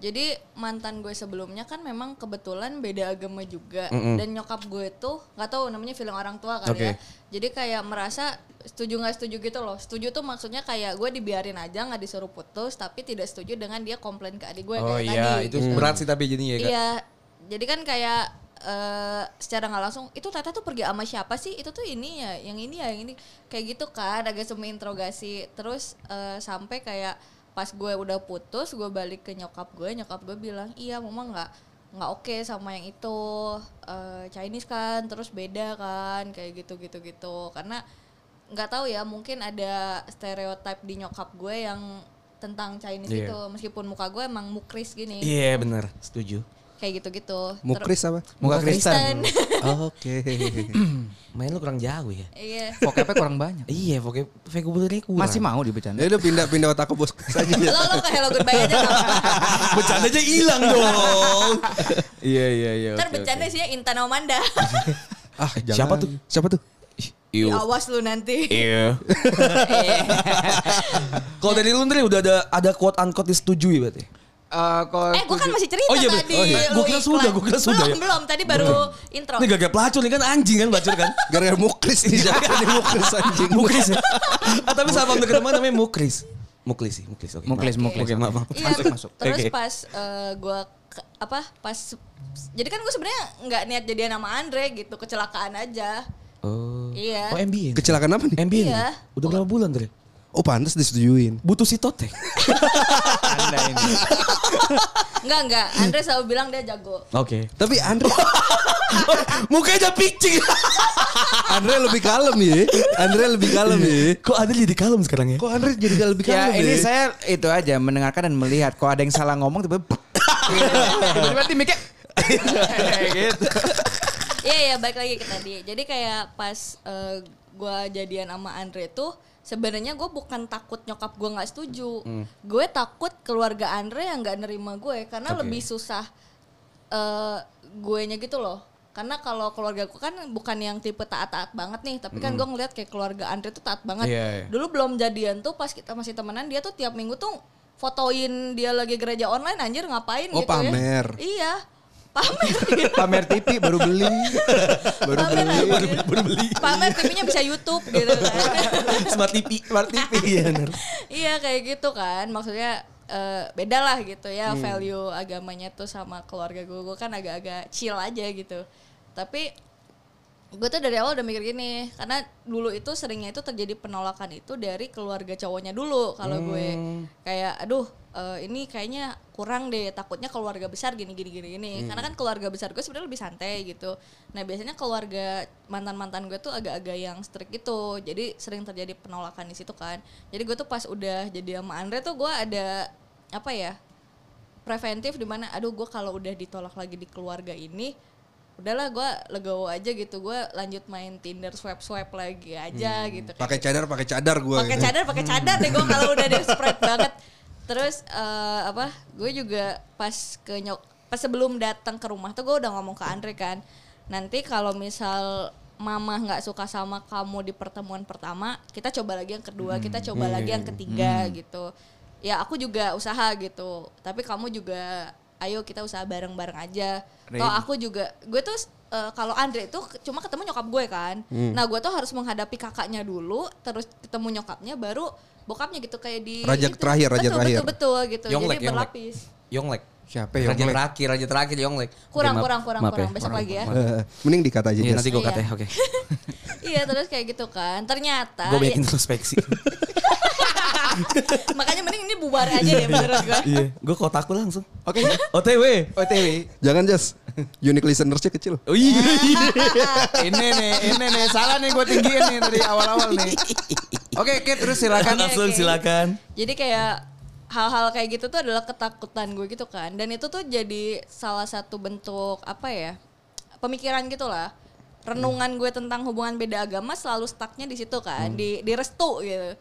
E: jadi mantan gue sebelumnya kan memang kebetulan beda agama juga dan nyokap gue tuh nggak tahu namanya feeling orang tua kali
C: Oke.
E: ya jadi kayak merasa setuju nggak setuju gitu loh setuju tuh maksudnya kayak gue dibiarin aja nggak disuruh putus tapi tidak setuju dengan dia komplain ke adik gue
C: Oh
E: kayak tadi
C: iya,
E: gitu.
C: itu berat sih tapi jadinya ya kan
E: Iya, jadi kan kayak eh, secara nggak langsung itu Tata tuh pergi sama siapa sih? Itu tuh ini ya, yang ini ya, yang ini kayak gitu kan, agak semi interogasi. Terus eh, sampai kayak pas gue udah putus, gue balik ke nyokap gue, nyokap gue bilang iya mama nggak nggak oke sama yang itu eh, Chinese kan, terus beda kan, kayak gitu gitu gitu. Karena nggak tahu ya, mungkin ada stereotip di nyokap gue yang tentang Chinese
C: Iya.
E: itu meskipun muka gue emang mukris gini
C: iya benar setuju
E: kayak gitu-gitu. Ter-
B: Mukris apa?
D: Muka Kristen.
B: Oke.
C: Main lu kurang jauh ya.
E: (laughs) Iya.
D: Vokapnya kurang banyak.
C: Iya, pokoknya vocabulary kurang.
D: Masih
C: (laughs)
D: mau dibecanda.
B: Ya udah pindah pindah otak ke bos saja.
E: Lo lo ke Hello Goodbye aja nggak apa-apa.
C: bercanda aja hilang dong. Iya iya iya.
E: Ntar
C: (laughs) oke,
E: bercanda
C: oke.
E: sih ya Intan Omanda.
B: ah,
C: Siapa tuh?
B: Siapa tuh?
C: Iu.
E: (laughs) Ya, (laughs) Awas lu (laughs) nanti. Iya.
C: Iu. Kalau dari lu Ndri, udah ada ada quote unquote disetujui berarti.
D: Eh, kalau
E: Eh, gue kan
D: setuju-
E: masih cerita
C: Oh, iya, betul.
E: tadi.
C: Oh, iya.
E: lu
C: Gua kira
E: iklan.
C: sudah, gua kira sudah
E: Belum,
C: ya.
E: belum. Tadi baru intro.
C: Ini gak pelacur nih kan anjing kan pelacur
E: (laughs)
C: kan.
B: Gara-gara Mukris nih
C: Iya.
E: Iya,
B: siapa nih Mukris anjing.
C: Mukris. ah, tapi sahabat dekat rumah namanya Mukris. Muklis sih, Muklis. oke.
D: Muklis,
C: Maaf.
D: Muklis.
C: Oke, maaf. maaf.
E: Iya,
D: Masuk, masuk.
E: Terus
C: Oke.
E: pas eh, gua ke- apa pas jadi kan gue sebenarnya nggak niat jadian sama Andre gitu kecelakaan aja.
C: Oh.
E: Iya.
C: Oh, MBA.
B: (laughs) Kecelakaan apa nih?
C: MBA.
E: Iya.
C: Udah berapa bulan, Ndri?
B: Oh pantas disetujuin.
C: Butuh si Totek.
D: Anda ini.
E: Enggak enggak. Andre selalu bilang dia jago.
C: Oke.
B: Tapi Andre
E: Ah.
C: Mukanya udah picing.
B: Andre lebih kalem ya. Andre lebih kalem ya.
C: Kok ada jadi kalem sekarang Iya. ya?
B: Kok Andre jadi lebih kalem?
D: (laughs) Ya ini
B: ya?
D: saya itu aja mendengarkan dan melihat. Kalau ada yang salah ngomong tiba-tiba (laughs) tiba-tiba timiknya gitu.
E: Iya iya balik lagi ke tadi. Jadi kayak pas eh, gua jadian sama Andre tuh sebenarnya gue bukan takut nyokap gue nggak setuju. Gue takut keluarga Andre yang nggak nerima gue karena lebih susah eh guenya gitu loh. Karena kalau keluarga gue kan bukan yang tipe taat-taat banget nih, tapi kan gue ngeliat kayak keluarga Andre tuh taat banget.
D: Iya, iya.
E: Dulu belum jadian tuh pas kita masih temenan dia tuh tiap minggu tuh fotoin dia lagi gereja online anjir ngapain
B: Oh,
E: gitu ya.
B: pamer.
E: Iya. Pamer (laughs) gitu.
D: Pamer TV baru beli.
E: Baru beli. (laughs) Baru, beli. Pamer TV-nya bisa YouTube gitu kan. (laughs)
C: Smart TV. Smart TV ya, Ndri.
E: iya kayak gitu kan. Maksudnya eh, beda lah gitu ya value agamanya tuh sama keluarga gue. Gue kan agak-agak chill aja gitu. Tapi gue tuh dari awal udah mikir gini karena dulu itu seringnya itu terjadi penolakan itu dari keluarga cowoknya dulu kalau gue kayak aduh eh, ini kayaknya kurang deh takutnya keluarga besar gini gini gini gini karena kan keluarga besar gue sebenarnya lebih santai gitu nah biasanya keluarga mantan mantan gue tuh agak-agak yang strict gitu jadi sering terjadi penolakan di situ kan jadi gue tuh pas udah jadi sama Andre tuh gue ada apa ya preventif dimana aduh gue kalau udah ditolak lagi di keluarga ini udahlah gue legowo aja gitu gue lanjut main Tinder swipe swipe lagi aja gitu
B: pakai cadar pakai cadar gitu. gue.
E: pakai cadar pakai cadar deh gue kalau udah desperate banget terus eh, apa gue juga pas ke nyok pas sebelum datang ke rumah tuh gue udah ngomong ke Andre kan nanti kalau misal mama nggak suka sama kamu di pertemuan pertama kita coba lagi yang kedua kita coba lagi yang ketiga gitu ya aku juga usaha gitu tapi kamu juga ayo kita usaha bareng-bareng aja toh
D: Ready.
E: aku juga gue tuh eh, kalau Andre itu ke- cuma ketemu nyokap gue kan
C: Hmm.
E: nah gue tuh harus menghadapi kakaknya dulu terus ketemu nyokapnya baru bokapnya gitu kayak di
B: Raja
E: itu.
B: terakhir, raja
E: betul,
B: terakhir.
E: betul betul gitu
C: Yonglek,
E: jadi
C: Yonglek.
E: berlapis
C: Yonglek.
D: Siapa ya?
C: Raja terakhir, raja terakhir Yonglek. Oke,
E: kurang
C: maaf.
E: kurang kurang
C: Maaf ya.
E: kurang besok lagi ya
B: Eh, Mending dikata aja.
D: Iya
B: Jess.
D: nanti gue
E: Iya.
D: kata ya,
E: (laughs)
D: oke.
E: iya terus kayak gitu kan ternyata
C: Gue
E: ya-
C: banyak introspeksi.
E: (laughs) makanya mending ini bubar aja deh menurut
C: (laughs)
E: gue
C: Iya. Gue kotakku langsung. (laughs)
D: kan? Oke.
C: OTW.
D: OTW.
B: Jangan Jas. Unique listenersnya kecil.
C: Oh
D: Ah,
C: iya.
D: (laughs) Ini nih, ini nih salah nih gue tinggiin nih dari awal-awal nih. Oke, oke terus silakan.
E: Oke,
C: Langsung
E: oke.
C: silakan.
E: Jadi kayak hal-hal kayak gitu tuh adalah ketakutan gue gitu kan. Dan itu tuh jadi salah satu bentuk apa ya? Pemikiran gitu lah. Renungan gue tentang hubungan beda agama selalu stucknya di situ kan, di di restu gitu.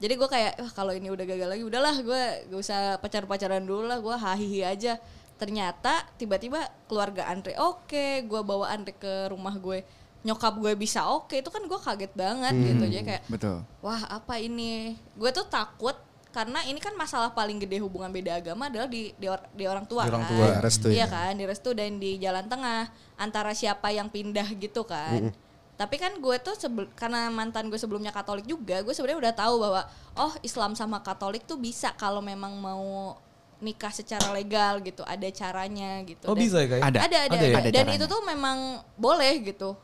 E: Jadi gue kayak "Wah, kalau ini udah gagal lagi udahlah gue gak usah pacar-pacaran dulu lah, gue hahihi aja. Ternyata tiba-tiba keluarga Andre oke, gue bawa Andre ke rumah gue. Nyokap gue bisa oke, itu kan gue kaget banget gitu. Jadi kayak
D: Betul.
E: wah apa ini gue tuh takut karena ini kan masalah paling gede hubungan beda agama adalah di di, or- di orang tua
C: Di orang
E: kan
B: tua, restu
E: iya
B: ya.
E: kan di restu dan di jalan tengah antara siapa yang pindah gitu kan tapi kan gue tuh sebel- karena mantan gue sebelumnya Katolik juga gue sebenarnya udah tahu bahwa oh Islam sama Katolik tuh bisa kalau memang mau nikah secara legal gitu ada caranya gitu
C: Oh
E: Dan-
C: bisa ya kayak.
D: Ada.
E: ada
C: Ada ya?
E: ada, ada.
D: Ada
E: dan
D: caranya.
E: itu tuh memang boleh gitu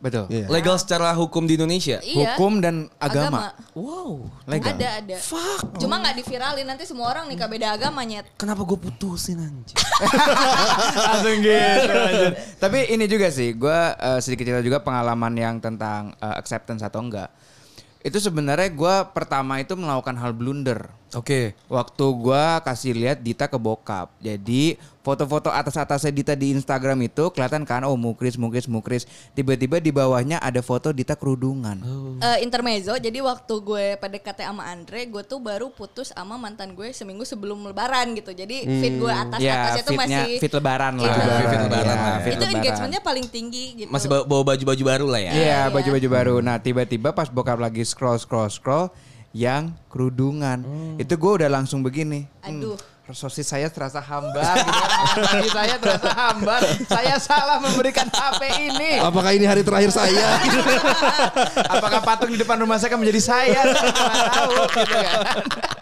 D: Betul.
B: Iya.
C: Legal secara hukum di Indonesia.
E: iya
D: Hukum dan agama.
C: Wow.
D: Legal.
E: Ada, ada. Cuma nggak diviralin nanti semua orang nikah beda agama nyet.
C: Kenapa gue putusin anjing?
D: (laughs) Langsung gitu. lanjut. Tapi ini juga sih, gue sedikit cerita juga pengalaman yang tentang eh, acceptance atau enggak. Itu sebenarnya gue pertama itu melakukan hal blunder.
C: Oke.
D: Waktu gua kasih lihat Dita ke bokap. Jadi foto-foto atas-atasnya Dita di Instagram itu kelihatan kan oh mukris mukris mukris. Tiba-tiba di bawahnya ada foto Dita kerudungan.
E: Eh, intermezzo, jadi waktu gue PDKT sama Andre, gue tuh baru putus sama mantan gue seminggu sebelum lebaran gitu. Jadi fit gue atas-atas
D: Hmm, Ya,
E: itu
D: fitnya-
E: masih
D: fit lebaran lah.
E: Iya.
C: Fit- fit lebaran
D: Iya,
C: lah.
D: fit
E: itu
D: lebaran.
E: engagementnya paling tinggi gitu.
C: Masih bawa bawa baju-baju baru lah ya.
D: Iya,
E: Iya.
D: baju-baju baru. Nah, tiba-tiba pas bokap lagi scroll scroll scroll yang kerudungan. Itu gue udah langsung begini.
E: Aduh.
D: Hmm, Sosis saya terasa hambar, gitu. Kaki saya terasa hambar. Saya salah memberikan HP ini.
B: Apakah ini hari terakhir saya?
D: (laughs) Apakah patung di depan rumah saya akan menjadi saya? Saya nggak tahu, gitu kan.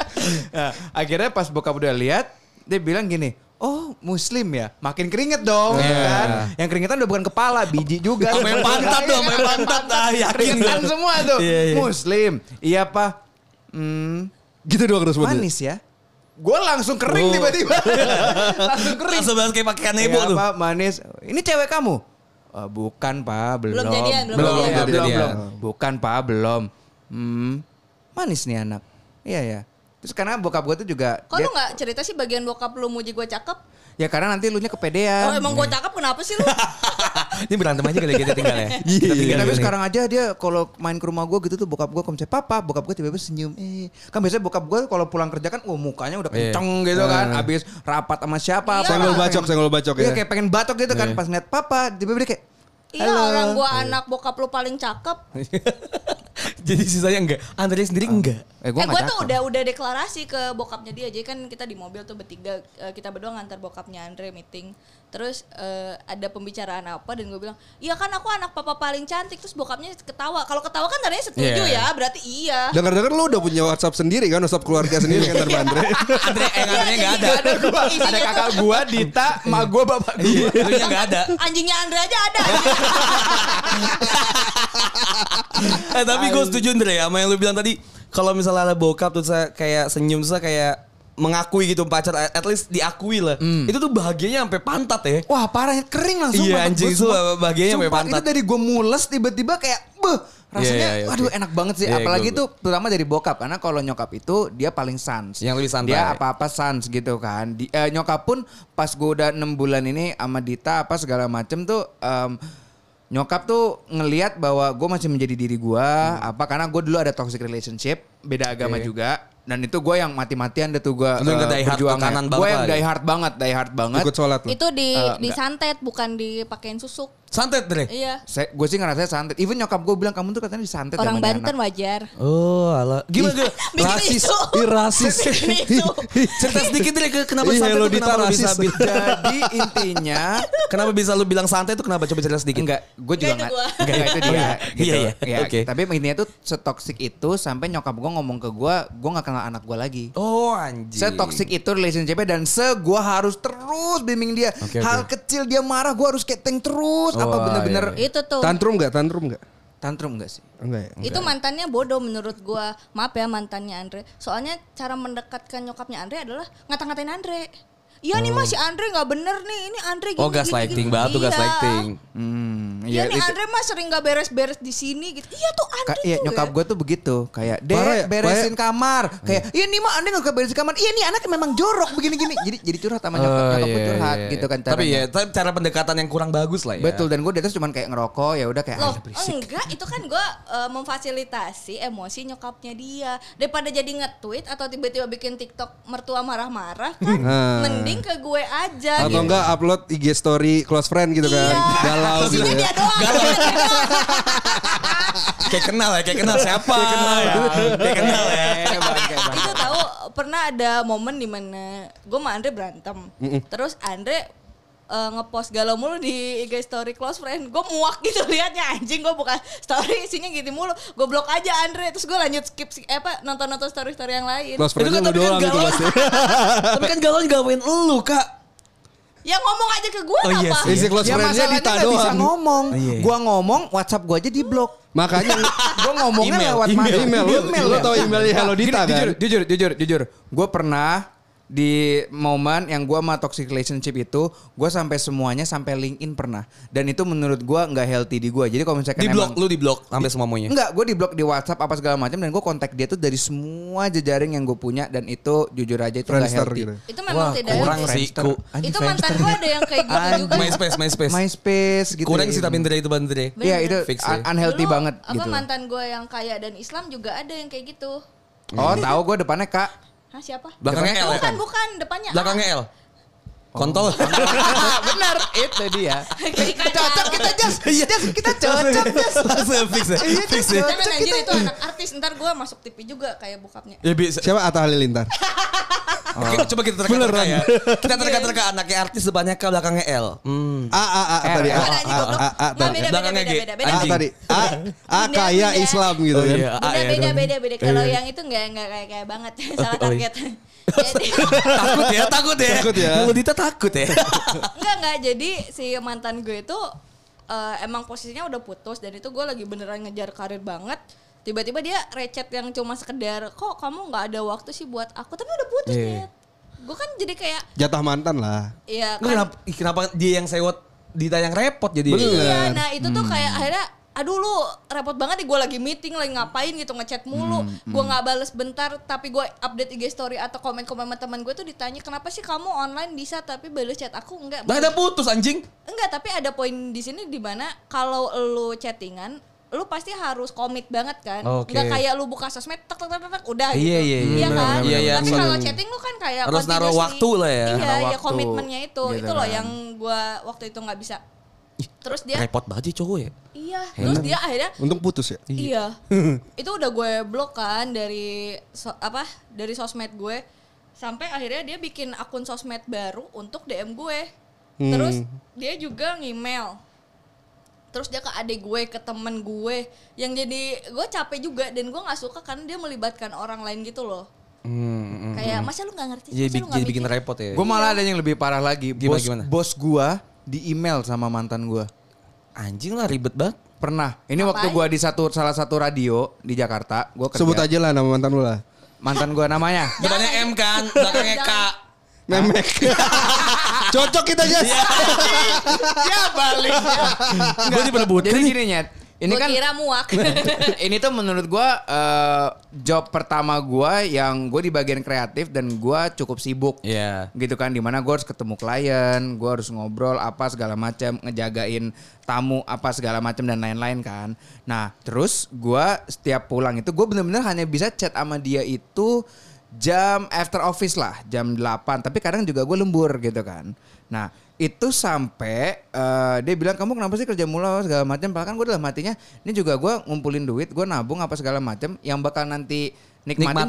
C: (laughs)
D: Nah, akhirnya pas bokap udah lihat, dia bilang gini, Oh muslim ya, makin keringet dong ya kan. Yang keringetan udah bukan kepala, biji juga. Iya,
C: Sama yang Iya. Oh, pantat dong, sama yang pantat. Ah, yakin
D: Keringetan
C: gua.
D: semua tuh.
C: Iya, iya.
D: Muslim, iya pak. Hmm,
B: gitu doang responnya.
D: manis ya. Gue langsung
C: Oh.
D: kering tiba-tiba. langsung kering.
C: Langsung banget kayak pakaian
D: Iya,
C: nebo tuh.
D: Pak, manis. Ini cewek kamu? "Eh, bukan, Pak, belum.
E: Belum jadian, belum jadian.
D: belum, ya, belum,
C: Belum
D: belum.
C: jadian.
D: Bukan, Pak, belum. Hmm. Manis nih anak. Iya, ya. Terus karena bokap gue tuh juga
E: Kok
D: dia-
E: lu gak cerita sih bagian bokap lu muji gue cakep?
D: ya karena nanti lu nya
E: Kalau
D: kepedean.
E: Oh, emang gue cakep kenapa
D: (laughs)
E: sih lu?
C: Ini berantem aja kali kita tinggal ya.
D: Iya,
C: Kita tinggal
D: tapi
C: dulu nih.
D: sekarang aja dia kalau main ke rumah gue gitu tuh bokap gue kalau misalnya papa, bokap gue tiba-tiba senyum. Eh, kan biasanya bokap gue kalau pulang kerja kan oh mukanya udah
C: Iya.
D: kenceng gitu kan, habis rapat sama siapa.
E: Iya.
D: Senggol
B: Senggol bacok, senggol bacok
D: Iya
B: ya.
D: kayak pengen batok gitu kan pas ngeliat papa, tiba-tiba dia kayak
E: Iya orang gue anak bokap lu paling cakep.
C: (laughs) Jadi sisanya enggak. Andre sendiri
D: Ah.
C: enggak.
E: eh
D: nggak
E: gue tuh
D: cakep."
E: udah udah deklarasi ke bokapnya dia. Jadi kan kita di mobil tuh bertiga eh, kita berdua ngantar bokapnya Andre meeting. Terus eh, ada pembicaraan apa dan gue bilang, "Iya kan aku anak papa paling cantik." Terus bokapnya ketawa. Kalau ketawa kan tandanya setuju
C: Iya.
E: ya, berarti iya.
B: Dengar-dengar lu udah punya WhatsApp sendiri kan, WhatsApp keluarga sendiri kan dari Andre.
C: Andre eh Andre enggak ada.
E: Ada gua,
D: ada kakak gua, Dita, emak gua, bapak gua.
C: Itunya enggak ada.
E: Anjingnya Andre aja ada.
C: Eh, tapi gue setuju Andre ya sama yang lu bilang tadi. Kalau misalnya ada bokap terus saya kayak senyum terus saya kayak mengakui gitu pacar at least diakui lah. Itu tuh bahagianya sampai pantat ya.
D: Wah parahnya kering langsung.
C: Iya,
D: pantat
C: anjing,
D: gua
C: itu
D: semua.
C: bahagianya
D: Sumpah,
C: sampai pantat.
D: Itu dari gua mules tiba-tiba kayak beh rasanya
C: Iya, iya, iya,
D: aduh
C: oke.
D: enak banget sih
C: Iya,
D: apalagi
C: gua-
D: tuh terutama dari bokap karena kalau nyokap itu dia paling sans
C: Yang lebih santai.
D: dia apa-apa sans gitu kan Di, eh, nyokap pun pas gua udah 6 bulan ini sama Dita apa segala macem tuh em, nyokap tuh ngelihat bahwa gua masih menjadi diri gua
C: Hmm.
D: apa karena gua dulu ada toxic relationship beda agama juga dan itu gua yang mati-matian deh tuh gua
C: Iya. Lu yang
D: eh,
C: die hard ke
D: berjuangnya.
C: kanan banget
D: Gua yang
C: lah.
D: die hard banget die hard banget
B: Ikut sholat lu.
E: (laughs) Itu di disantet bukan dipakein susuk.
C: Santet Andre.
E: Iya.
D: saya gue sih ngerasa santet. Even nyokap gue bilang kamu tuh katanya disantet ya
E: Orang
D: sama nih
E: Banten
D: anak."
E: wajar.
C: Oh, ala. Gimana (laughs) gimana?
E: Bikin
C: Rasis.
E: isu.
B: Ih, rasis.
E: Bikin
D: (laughs)
E: isu.
C: Cerita sedikit Andre ke kenapa
D: Iya,
B: Ih,
C: santet
B: hello,
C: tuh
B: Dita,
C: kenapa lu bisa
B: rasis.
C: bil-
D: Jadi
C: (laughs)
D: intinya
C: Kenapa bisa lu bilang santai itu kenapa coba cerita sedikit?
D: enggak, gue juga
E: Enggak,
D: enggak.
E: itu gua.
D: Enggak itu dia.
C: Gitu. Iya,
D: gitu.
C: iya, iya.
D: Ya,
C: Oke.
D: Tapi intinya tuh setoksik itu sampai nyokap gue ngomong ke gue, gue nggak kenal anak gue lagi.
C: Oh anjing.
D: Setoksik itu relationship-nya dan se gue harus terus bimbing dia.
C: Oke, Oh,
D: Hal kecil dia marah gue harus keteng terus. apa
C: Wah,
D: bener-bener
E: Itu tuh. Iya.
B: Tantrum enggak? Tantrum enggak?
C: iya.
D: tantrum enggak sih?
B: Enggak ya.
E: Itu mantannya bodoh menurut gua. Maaf ya mantannya Andre. Soalnya cara mendekatkan nyokapnya Andre adalah ngata-ngatain Andre. Iya nih Mas si Andre nggak bener nih. Ini Andre gini
C: Oh
E: gini,
C: gaslighting
E: gini.
C: banget tuh
E: Iya.
C: gaslighting.
D: Hmm,
E: Iya
D: iya.
E: nih
D: itu-
E: Andre mah sering nggak beres-beres di sini gitu. Iya tuh Andre
D: Ka- iya,
E: juga.
D: nyokap gue tuh begitu kayak
B: Parah
D: deh
B: ya,
D: beresin kamar
C: Hmm.
D: kayak iya nih mah anda nggak beresin kamar iya nih anak memang jorok begini gini jadi jadi curhat sama nyokap
C: Oh,
D: nyokap gue
C: iya,
D: curhat
C: iya, iya.
D: gitu kan
C: Tapi
D: caranya.
C: ya, tapi cara pendekatan yang kurang bagus lah ya.
D: betul dan gue di atas cuman kayak ngerokok ya udah kayak
E: Loh,
D: "Ah, berisik."
E: enggak itu kan gue memfasilitasi emosi nyokapnya dia daripada jadi nge-tweet atau tiba-tiba bikin TikTok mertua marah-marah kan mending ke gue aja gitu.
B: Atau enggak upload IG story close friend gitu kan.
E: Iya.
B: Galau gitu.
E: Maksudnya dia doang.
C: kayak kenal ya, kayak kenal siapa? kayak kenal ya. kayak kenal
E: (laughs)
C: ya.
D: Eh, bangke, bangke.
E: itu tahu pernah ada momen di mana gue sama Andre berantem. Terus Andre eh, ngepost galau mulu di IG story close friend. Gue muak gitu liatnya anjing gue buka story isinya gitu mulu. Gue blok aja Andre. Terus gue lanjut skip skip- eh, apa nonton-nonton story-story yang lain.
B: Close
C: Itu
B: friend
C: kan
B: lu
C: tapi kan
B: doang gitu
C: galau.
B: pasti.
C: tapi kan galau gawain elu, Kak.
E: Ya ngomong aja ke gue
C: Oh, iya
E: apa?
C: sih.
B: Isi close
D: ya
B: friend-nya
D: masalahnya
B: Dita
D: nggak bisa
B: doang.
D: ngomong
C: Iya, iya.
D: gue ngomong WhatsApp gue aja di blok
B: Makanya (laughs)
D: gue ngomongnya
C: Email,
D: lewat
C: email,
D: mana?
B: email. Lu- lu tau emailnya Hello
D: Gini,
B: Dita, kan?
D: Jujur, jujur, jujur, jujur. Gue pernah di momen yang gua sama toxic relationship itu gua sampai semuanya sampai LinkedIn pernah dan itu menurut gua nggak healthy di gua jadi kalau misalkan
C: Di blok,
D: emang-
C: lu di blok sampai semua maunya.
D: Enggak, gue di blok di WhatsApp apa segala macam dan gue kontak dia tuh dari semua jejaring yang gue punya dan itu jujur aja itu nggak
B: Friendster
D: healthy.
C: ya?
B: gitu.
E: Itu memang tidak
C: kurang
E: healthy.
C: sih.
D: Friendster.
C: Ku-
D: Anjing,
E: Itu mantan
D: Friendster.
E: gue ada yang kayak gitu juga.
C: MySpace, MySpace.
D: MySpace gitu.
C: Kurang
D: ya.
C: sih tapi dari itu bandre.
D: Iya itu
C: Fix
D: un-
C: ya.
D: unhealthy
E: Dulu,
D: banget
E: apa
D: gitu.
E: mantan gue yang kaya dan Islam juga ada yang kayak gitu.
D: Oh tahu gue depannya kak.
E: Hah siapa?
C: Belakangnya L ya
E: Bukan,
C: kan?
E: bukan. Depannya A.
C: Belakangnya L. Kontol.
D: Benar itu dia.
E: Jadi kaya.
D: Cocok (laughs) kita jas, jas kita
C: (laughs)
D: cocok jas.
C: Langsung fix ya.
D: Iya
C: Iya. Fix
D: jas
C: ya.
E: Jangan
D: cocok
E: anjir
D: kita.
E: itu anak artis. Ntar gue masuk TV juga kayak bokapnya.
C: Ya bisa.
B: Siapa Atta Halilintar?
C: Oke, coba kita terka-terka ya. Kita terka-terka
E: Iya.
C: anaknya artis depannya K belakangnya L. (laughs) Hmm.
B: A A A A
D: Ah,
B: tadi A
E: Bukan, anjing,
B: A
E: goblok.
B: A A
E: Nggak,
B: tadi.
E: beda, beda,
C: Belakangnya
E: beda,
C: G. Ah,
E: beda,
B: A
E: beda.
C: Anjing.
B: tadi. A A
E: Bunda,
B: kaya
E: bunda.
B: Islam gitu
C: Oh
B: kan.
C: iya, A
E: Beda,
C: ya
E: beda,
C: dong.
E: beda, beda. Kalau yang itu nggak nggak kayak kayak
C: (laughs)
E: banget. Salah
C: Oh, oh,
E: target. Jadi
C: Takut ya, takut ya.
B: Takut ya.
C: Kalau Dita takut ya.
E: Enggak enggak jadi si mantan gue itu eh, emang posisinya udah putus dan itu gue lagi beneran ngejar karir banget. Tiba-tiba dia recet yang cuma sekedar kok kamu nggak ada waktu sih buat aku tapi udah putus
C: Iya.
E: Nyet." Gue kan jadi kayak
B: Jatah mantan lah.
C: Nggak,
E: ya kan
C: kenapa, ih, kenapa dia yang sewot Dita yang repot jadi.
E: iya nah itu tuh kayak akhirnya aduh lu repot banget nih gue lagi meeting lagi ngapain gitu ngechat mulu
C: Hmm,
E: gue nggak bales bentar tapi gue update IG story atau komen komen sama teman gue tuh ditanya kenapa sih kamu online bisa tapi bales chat aku enggak
C: Nah, ada putus anjing.
E: Enggak, tapi ada poin di sini di mana kalau lu chattingan, lu pasti harus komit banget kan.
C: Oke.
E: Enggak kayak lu buka sosmed tek tek tek tek, udah
C: Iya,
E: gitu.
C: iya, iya. Benar, benar,
E: kan?
C: benar.
E: tapi
C: Iya, iya.
E: kalau chatting lu kan kayak
C: Harus naruh
E: continuously.
C: waktu lah ya.
E: Iya,
D: Naruh
E: iya
D: waktu.
E: komitmennya itu.
D: Gitu
E: itu loh
D: kan.
E: yang gua waktu itu nggak bisa. Terus dia
C: Repot banget sih cowok ya.
E: iya, terus dia akhirnya
B: Untung putus ya.
E: Iya.
C: (laughs)
E: itu udah gue blok kan dari so- apa? Dari sosmed gue sampai akhirnya dia bikin akun sosmed baru untuk DM gue.
C: Hmm.
E: Terus dia juga ngemail. Terus dia ke adik gue, ke temen gue yang jadi gue capek juga dan gue nggak suka karena dia melibatkan orang lain gitu loh.
C: Hmm.
E: Kayak masa lu nggak ngerti?
C: Jadi,
E: Masa lu
C: bi-
E: nggak
C: jadi bikin
E: mikir?"
C: repot ya.
D: Gue malah ada yang lebih parah lagi.
C: Gimana,
D: Bos
C: gimana?
D: bos gue di email sama mantan gue.
C: anjing lah ribet banget.
D: Pernah. Ini waktu
E: Ngapain?
D: gue di satu salah satu radio di Jakarta. Gue kerja.
B: Sebut aja lah nama mantan lu lah.
D: Mantan gue namanya.
C: Depannya M
E: (laughs)
C: kan, belakangnya K.
E: gitu. Jangan.
B: Memek. Cocok kita Jas.
D: ya balik.
C: Gue diperbutin.
D: Jadi gini Nyet. Ini
E: Gua
D: kan
E: kira
C: (laughs)
E: muak.
D: (laughs) ini tuh menurut gua eh, job pertama gua yang gue di bagian kreatif dan gua cukup sibuk.
C: Iya.
D: Gitu kan dimana gue harus ketemu klien, gue harus ngobrol apa segala macam, ngejagain tamu apa segala macam dan lain-lain kan. Nah terus gua setiap pulang itu gue bener-bener hanya bisa chat sama dia itu jam after office lah jam 8 tapi kadang juga gue lembur gitu kan nah itu sampai eh, dia bilang kamu kenapa sih kerja mulu segala macam bahkan gue dalam hatinya ini juga gue ngumpulin duit gue nabung apa segala macam yang bakal nanti nikmatin,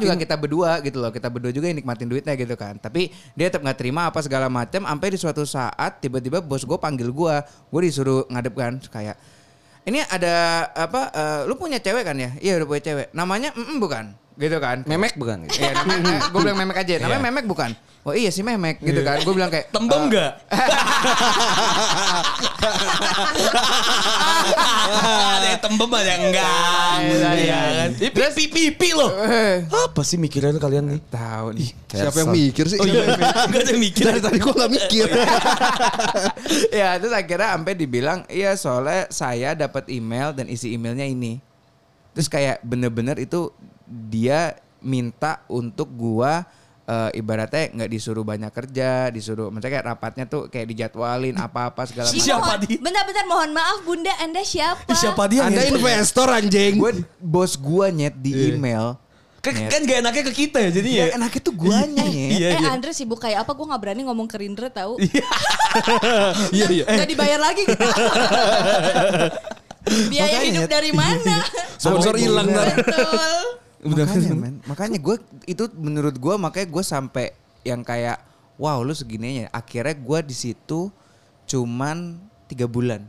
C: Nikmatin.
D: juga kita berdua gitu loh kita berdua juga yang nikmatin duitnya gitu kan tapi dia tetap nggak terima apa segala macam sampai di suatu saat tiba-tiba bos gue panggil gue gue disuruh ngadep kan kayak ini ada apa eh, lu punya cewek kan ya iya udah punya cewek namanya mm bukan gitu kan
C: Memek bukan?
D: Iya, namanya gue bilang memek aja. Namanya memek bukan? Oh iya sih memek gitu kan. Gue bilang kayak
C: Tembem
D: eh,
C: (laughs) enggak? ada yang tembem ada yang enggak.
D: Iya, iya.
C: kan? Ini pipi pipi loh. Apa sih mikirin kalian nih?
D: Tahu nih.
B: Siapa yang mikir sih?
C: Oh (laughs) iya, enggak ada yang mikir.
B: Dari tadi gua gak mikir.
D: (laughs) ya terus akhirnya sampai dibilang iya soalnya saya dapat email dan isi emailnya ini. Terus kayak bener-bener itu dia minta untuk gua eh, ibaratnya nggak disuruh banyak kerja, disuruh maksudnya kayak rapatnya tuh kayak dijadwalin apa-apa segala macam.
C: Siapa
E: Mohon-
C: dia?
E: Bentar-bentar mohon maaf Bunda, Anda siapa?
C: Siapa dia?
B: Anda
C: Nyet?
B: investor anjing.
D: Gue bos gua nyet di email.
C: Kan, kan gak enaknya ke kita ya jadinya.
D: Ya, enaknya tuh guanya nyet.
C: Iya,
E: eh
C: iya.
E: Andre sibuk kayak apa? Gue nggak berani ngomong ke Rindra tahu. (laughs)
C: Iya iya.
E: Gak dibayar lagi kita.
C: (laughs)
E: Biaya
D: Makanya,
E: hidup
D: Nyet.
C: (laughs)
E: dari mana?
B: Sponsor hilang
C: Iya.
B: ntar.
E: Betul.
D: makanya men makanya gue itu menurut gue makanya gue sampai yang kayak wow lu segininya akhirnya gue di situ cuman tiga bulan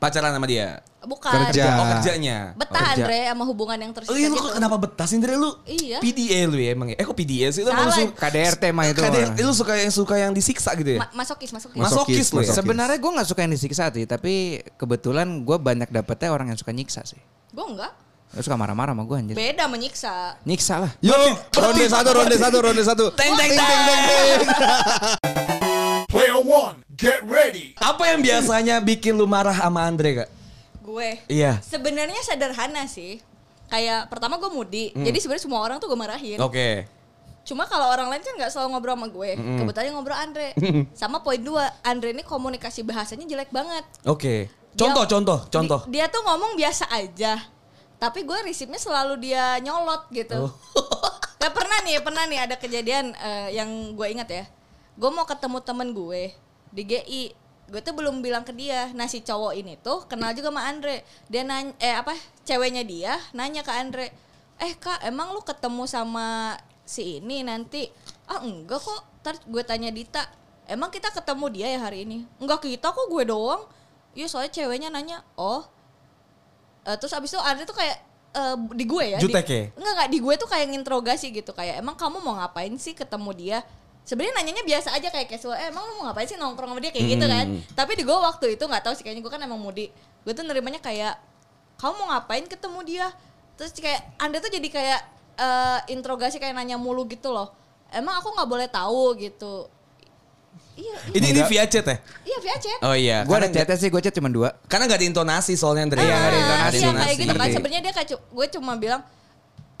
C: Pacaran sama dia.
E: Bukan.
B: Kerja.
C: Oh kerjanya.
E: Betah
D: Kerja.
E: Andre sama hubungan yang
C: Oh
E: tersisa
C: iya lu
E: gitu.
C: kok kenapa betah sih Ndre lu?
E: Iya.
C: PDA lu ya emang ya? Eh kok PDA sih? Lu
E: Salah.
C: emang su-
D: KDRT mah itu
C: KDRT
D: orang.
C: lu suka yang suka yang disiksa gitu ya?
E: Ma- masokis, masokis.
B: Masokis,
C: Masokis lu ya?
B: masokis.
D: sebenarnya gue nggak suka yang disiksa sih tapi kebetulan gue banyak dapetnya orang yang suka nyiksa sih
E: Gue enggak.
D: Lu suka marah-marah sama gue
C: Iya.
D: anjir.
E: Beda menyiksa.
D: Nyiksa lah.
B: Yuk, ronde satu, ronde satu, ronde satu.
C: Teng, teng,
A: Player one, get ready.
C: Apa yang biasanya bikin lu marah sama Andre kak?
E: Gue.
C: Iya.
E: Sebenarnya sederhana sih. Kayak pertama gue mudi.
C: Hmm.
E: Jadi sebenarnya semua orang tuh gue marahin.
C: Oke.
E: Cuma kalau orang lain kan nggak selalu ngobrol sama gue. Kebetulan yang ngobrol Andre. Sama poin dua, Andre ini komunikasi bahasanya jelek banget.
C: Oke.
E: Dia-
C: Contoh, contoh,
E: di-
C: contoh.
E: Dia, tuh ngomong biasa aja. Tapi gue risipnya selalu dia nyolot gitu. (laughs) Gak pernah nih, pernah nih ada kejadian eh, yang gue ingat ya. Gue mau ketemu temen gue di GI. Gue tuh belum bilang ke dia. Nah si cowok ini tuh kenal juga sama Andre. Dia nanya, eh apa, ceweknya dia nanya ke Andre. Eh kak, emang lu ketemu sama si ini nanti? Ah enggak kok, ntar gue tanya Dita. Emang kita ketemu dia ya hari ini? Enggak kita kok gue doang. Iya soalnya ceweknya nanya, oh Eh, terus abis itu Andre tuh kayak eh, di gue ya.
C: Jutek
E: di,
C: ya?
E: Enggak enggak di gue tuh kayak nginterogasi gitu kayak emang kamu mau ngapain sih ketemu dia? Sebenarnya nanyanya biasa aja kayak casual, eh, emang lu mau ngapain sih nongkrong sama dia kayak gitu
C: Hmm.
E: kan. Tapi di gue waktu itu nggak tahu sih kayaknya gue kan emang mudi. Gue tuh nerimanya kayak kamu mau ngapain ketemu dia? Terus kayak Andre tuh jadi kayak eh, interogasi kayak nanya mulu gitu loh. Emang aku nggak boleh tahu gitu. Iya, iya,
C: Ini ini via chat ya?
E: iya via chat.
C: Oh iya.
D: Gue
C: karena
D: ada
C: nggak-
D: Ya, chatnya sih, gue chat cuma dua.
C: Karena gak ada intonasi soalnya Andre.
E: Ah,
C: Iya,
E: iya, kayak
C: intonasi.
E: gitu kan
C: Ngerti.
E: sebenarnya dia kayak cu- gue cuma bilang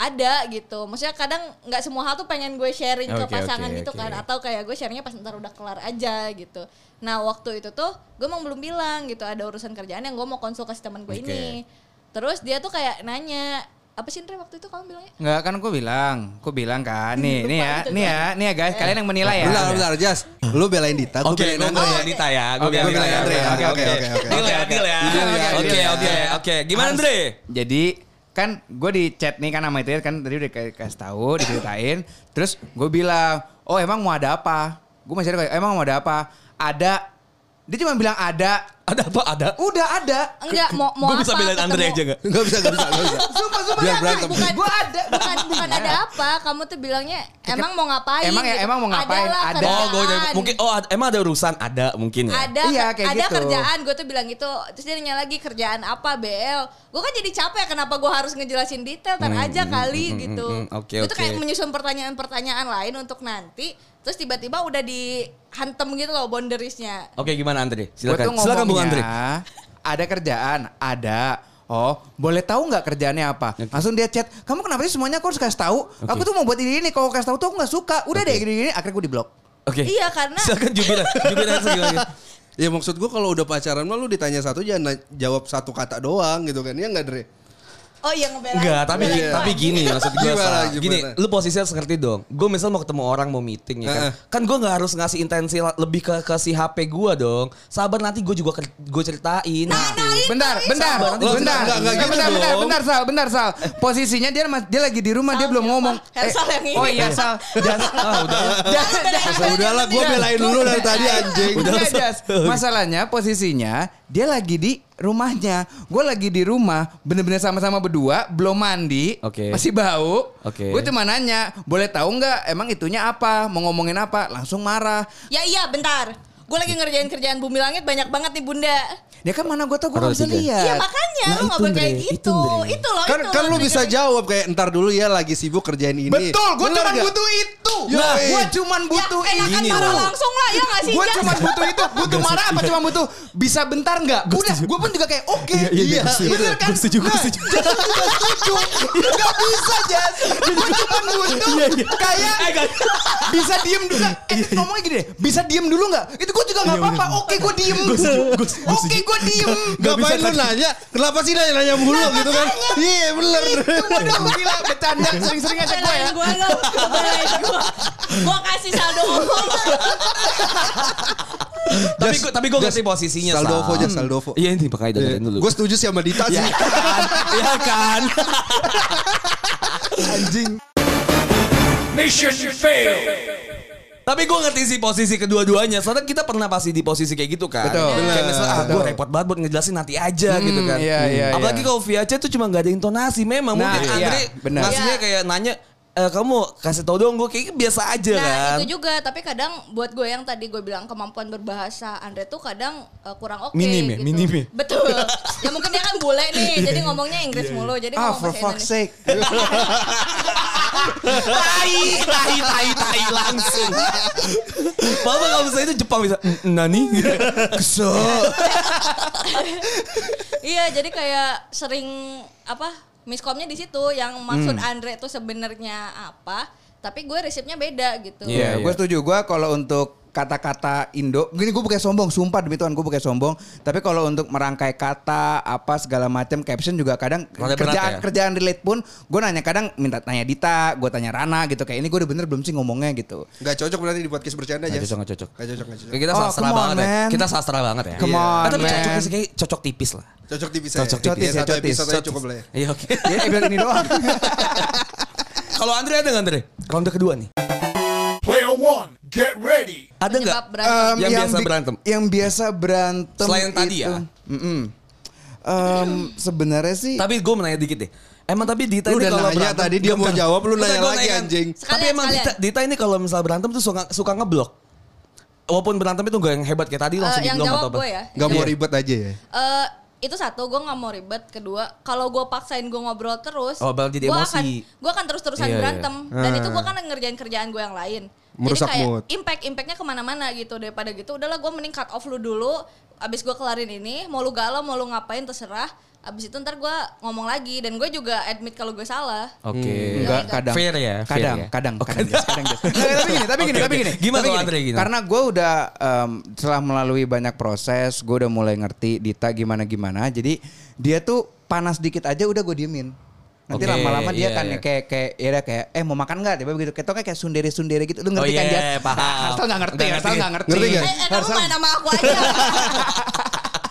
E: ada gitu maksudnya kadang nggak semua hal tuh pengen gue sharing ke
C: Oke,
E: pasangan
C: oke,
E: gitu kan
C: oke.
E: atau kayak gue sharingnya pas ntar udah kelar aja gitu nah waktu itu tuh gue emang belum bilang gitu ada urusan kerjaan yang gue mau konsul ke si teman
C: Oke.
E: gue ini terus dia tuh kayak nanya apa sih Andre waktu itu kamu bilangnya
D: Enggak kan gue bilang, gue bilang kan. Nih, nih (laughs) ya,
E: gitu,
D: nih ya, nih ya guys, kalian yang menilai ya.
B: Bentar, bentar, Jas. Lu belain Dita, gue
C: Iya, Oke,
B: belain
C: gue
B: Andre.
C: bilang Dita ya. Gue
D: Oke,
C: bilang
D: gue bilang
C: Dita ya.
D: Andre.
C: Oke, oke, oke. Deal ya, deal ya.
D: Deal ya,
C: Oke,
D: deal ya.
C: oke, oke. Gimana
D: Harus-
C: Andre?
D: Jadi kan gue di chat nih kan sama itu kan tadi udah kayak kasih tahu diceritain terus gue bilang oh emang mau ada apa gue masih ada kayak emang mau ada apa ada dia cuma bilang ada
C: Ada apa? Ada?
D: udah ada
E: enggak mau mau
C: Gue
E: apa
C: bisa belain Andre
E: ketemu-
C: aja gak?
B: Gak bisa, gak bisa, gak bisa.
D: sumpah sumpah
B: Biar
D: ada.
B: berantem.
E: bukan
D: Gua ada.
E: bukan bukan ada
C: Nah.
E: apa kamu tuh bilangnya emang mau ngapain
D: Emang ya,
E: gitu.
D: emang mau ngapain?
E: Adalah
D: Ada.
C: Oh, gue
E: kerjaan.
C: mungkin oh ada- emang ada urusan ada mungkin ya.
E: ada
D: Iya, kayak
E: ada
D: gitu.
E: kerjaan gue tuh bilang gitu terus dia nanya lagi kerjaan apa BL gue kan jadi capek kenapa gue harus ngejelasin detail ntar aja kali
C: hmm,
E: gitu
C: hmm, hmm, oke,
E: Gue tuh
C: oke.
E: kayak menyusun pertanyaan-pertanyaan lain untuk nanti terus tiba-tiba udah dihantem gitu loh boundariesnya
C: Oke, gimana Andre?
D: Gue
C: Silakan.
D: tuh
C: Silakan Bung Andre.
D: ngomongnya, Ada kerjaan, ada. Oh, boleh tahu nggak kerjaannya apa? Langsung dia chat, kamu kenapa sih semuanya aku harus kasih tahu? Aku tuh mau buat ini ini, kalau kasih tahu tuh aku nggak suka. Udah deh gini-gini, akhirnya gue di blok.
C: Oke.
E: Iya, karena-
C: Silakan Jubila. Jubila gimana?
B: Ya maksud gue kalau udah pacaran mah lu ditanya satu jangan na- jawab satu kata doang gitu kan. Ya enggak, Dre?
E: oh iya ngebelain
C: Enggak, tapi
E: ngebelain
C: tapi
E: doang.
C: gini maksud gue
B: Gimana,
C: Sa.
B: gimana?
C: Gini, lu posisinya seperti dong. Gue misal mau ketemu orang mau meeting ya kan.
B: Heeh.
C: Kan gue nggak harus ngasih intensi la- lebih ke ke si HP gue dong. Sabar nanti gue juga gue ceritain.
E: Nah,
D: Bentar, bentar,
B: Sabar, nanti
D: bentar,
B: bentar, enggak, enggak
D: bentar,
B: gitu
D: bentar,
B: dong.
D: bentar, Sal, bentar, Sal. Posisinya dia mas- dia lagi di rumah, dia
E: Sal,
D: belum
E: siapa?
D: ngomong.
E: Eh, Sal yang ini.
D: Oh iya, Sal. Jas, ah, udah. (laughs) Jas, Jas.
E: Udah, udah,
B: Udahlah, gue belain lu dari tadi anjing.
D: Udah, Jas. Masalahnya posisinya dia lagi di rumahnya. Gue lagi di rumah, bener-bener sama-sama berdua, belum mandi,
C: Oke.
D: masih bau.
C: Oke.
D: Gue cuma nanya, boleh tahu nggak emang itunya apa, mau ngomongin apa, langsung marah.
E: ya iya bentar gue lagi ngerjain kerjaan bumi langit banyak banget nih bunda
D: Dia kan mana gue tau gue nggak bisa
C: Rotiga.
D: lihat.
E: iya makanya
C: Nah,
E: lu nggak
C: itu,
E: boleh kayak
C: Ndre.
E: gitu
C: Itu, Ndre.
E: itu loh
B: Kan kan
E: itu loh, gitu.
B: lu
E: Ndre.
B: bisa jawab kayak entar dulu ya lagi sibuk kerjain ini.
D: Betul, gue
B: Bener
D: cuma
B: nggak? eh.
D: butuh itu.
B: Yoi.
D: Nah, gue cuma
E: ya
D: butuh
E: enakan
D: ini.
E: marah langsung lah ya nggak sih
D: Gue
E: (laughs) Jas?
D: cuma butuh itu, butuh marah apa cuma butuh bisa bentar nggak? Udah, gue pun juga kayak oke.
B: iya,
D: bener
B: iya,
D: kan?
C: Gue setuju, gue
D: Nah, (laughs)
C: setuju.
D: Jas juga setuju. Gak bisa Jas. Gue
B: (laughs)
D: cuma butuh
B: Iya,
D: kayak
B: Eh,
D: bisa diem dulu. nggak? Eh, ngomongnya gini deh, bisa diem dulu nggak? Itu gue juga
B: Iya,
D: nggak apa-apa. Oke, gue diem. Oke, gue diem.
B: Gak Ngapain
C: bisa
B: lu nanya? Kenapa sih nanya-nanya mulu gitu kan? Iya, bener.
D: Waduh, gila, bercanda sering-sering aja gue ya.
E: Belain gue lo, belain gue. Gue kasih saldo omong.
C: tapi
B: Jas,
C: gue tapi gue
B: Jas,
C: kasih posisinya Sa.
B: Saldovo aja, saldovo.
C: Iya ini pakai dengerin dulu.
B: Gue setuju sih sama Dita sih.
C: (laughs) Iya kan.
B: Anjing.
A: Mission failed.
C: Tapi gue ngerti sih posisi kedua-duanya. Soalnya kita pernah pasti di posisi kayak gitu kan.
D: Betul.
C: Kayak
B: Bener.
C: misalnya ah, gue
D: Betul.
C: repot banget buat ngejelasin nanti aja gitu kan.
D: iya, iya,
C: Apalagi
D: iya.
C: kalau via chat tuh cuma gak ada intonasi. Memang
D: Nah,
C: mungkin
D: iya,
C: Andre
D: bener.
C: ngasihnya
E: Iya.
C: kayak nanya eh, kamu kasih tau dong gue kayak gitu biasa aja
E: Nah
C: kan.
E: itu juga, tapi kadang buat gue yang tadi gue bilang kemampuan berbahasa Andre tuh kadang eh, kurang oke
C: Minim ya,
E: gitu.
C: minim ya. Iya.
E: Betul. ya mungkin dia kan bule nih, jadi ngomongnya Inggris mulu. Jadi
D: Ah,
C: Oh,
E: ngomong
D: for
E: bahasa
D: fuck's
E: Indonesia.
D: sake.
C: tai, tai, tai, tai langsung. Mama kalau misalnya itu Jepang bisa, "Mm, nani?
D: (laughs)
C: Kesel.
E: Iya, jadi kayak sering apa miskomnya di situ yang maksud
C: Hmm.
E: Andre tuh sebenarnya apa, tapi gue resepnya beda gitu.
C: Iya,
D: Iya,
C: iya.
D: gue setuju. Gue kalau untuk kata-kata Indo, gini gue bukan sombong, sumpah demi Tuhan gue bukan sombong. Tapi kalau untuk merangkai kata apa segala macam caption juga kadang
C: Rada berat
D: kerjaan
C: ya?
D: kerjaan relate pun gue nanya kadang minta tanya Dita, gue tanya Rana gitu kayak ini gue udah bener belum sih ngomongnya gitu.
B: Gak cocok berarti di podcast bercanda aja.
C: Nggak cocok, nggak cocok.
B: Nggak cocok, nggak cocok.
C: Kayak kita
D: Oh,
C: sastra
D: come on,
C: banget ya.
D: man.
C: Kita sastra banget ya.
D: Come
C: Ah,
D: on,
C: tapi
D: man.
C: cocoknya sih kayak cocok tipis lah.
B: Cocok tipis
C: Cocok
B: aja.
D: tipis.
B: Satu
D: Cotis,
B: episode aja
D: cotis.
B: cukup lah ya.
C: Iya oke.
D: Jadi episode ini doang.
C: (laughs) Kalau Andre ada nggak Andre? Ronde kedua nih.
A: Player one, get ready.
C: Ada nggak? Eh,
E: Penyebab berantem.
C: Yang biasa
D: bi-
C: berantem.
D: Yang biasa berantem.
C: Selain tadi ya?
D: Mm-mm. Em, sebenarnya sih.
C: Tapi gue menanya dikit deh. Emang tapi Dita
B: Lu
C: ini
B: udah
C: kalau
B: nanya
C: berantem-
B: tadi, dia mau
C: Bentar.
B: jawab, lu
C: Bentar,
B: nanya
C: gua
B: lagi,
C: nanyakan.
B: anjing.
E: Sekalian,
C: tapi emang
E: sekalian.
C: Dita, Dita ini kalau misalnya berantem tuh suka, suka ngeblok. Walaupun berantem itu gak yang hebat kayak tadi
E: Eh,
C: langsung
E: yang
C: diblok
E: jawab
C: atau apa.
E: gue ya.
B: Gak mau
C: Iya.
B: ribet aja ya.
E: Eh, itu satu gue nggak mau ribet kedua kalau gue paksain gue ngobrol terus
C: Oh, bakal jadi
E: gue
C: emosi.
E: akan gue akan terus terusan
C: Iya, iya.
E: berantem dan itu gue kan ngerjain kerjaan gue yang lain
B: Merusak
E: jadi kayak
B: mood.
E: impact impactnya kemana-mana gitu daripada gitu udahlah gue mending cut off lu dulu abis gue kelarin ini mau lu galau mau lu ngapain terserah abis itu ntar gue ngomong lagi dan gue juga admit kalau gue salah
B: Hmm,
C: Oke.
B: Iya,
D: Enggak, kadang.
C: Fair ya, fair
D: Kadang,
C: ya.
D: kadang,
C: Oh, (laughs)
D: kadang,
C: kadang.
D: Jess, kadang. Jess. Nggak, tapi gini, tapi gini,
C: Oke,
D: tapi
C: oke.
D: gini.
C: Gimana
D: tapi
C: kalau
D: gini.
C: Andre gini?
D: Karena gue udah em, setelah melalui banyak proses, gue udah mulai ngerti Dita gimana-gimana. Jadi dia tuh panas dikit aja udah gue diemin. Nanti
C: Oke,
D: lama-lama
C: iya,
D: dia kan
C: iya.
D: kayak kayak ya udah kayak eh mau makan nggak? Tiba begitu. Ketoknya kayak sundere-sundere gitu. Lu ngerti
C: Oh,
D: kan
C: iya,
D: dia?
C: paham.
D: Harsel nggak ngerti,
C: Nggak ngerti.
D: Harsel nggak ngerti.
B: Ngerti nggak?
E: eh, eh kamu
D: Harsel-
E: main sama aku aja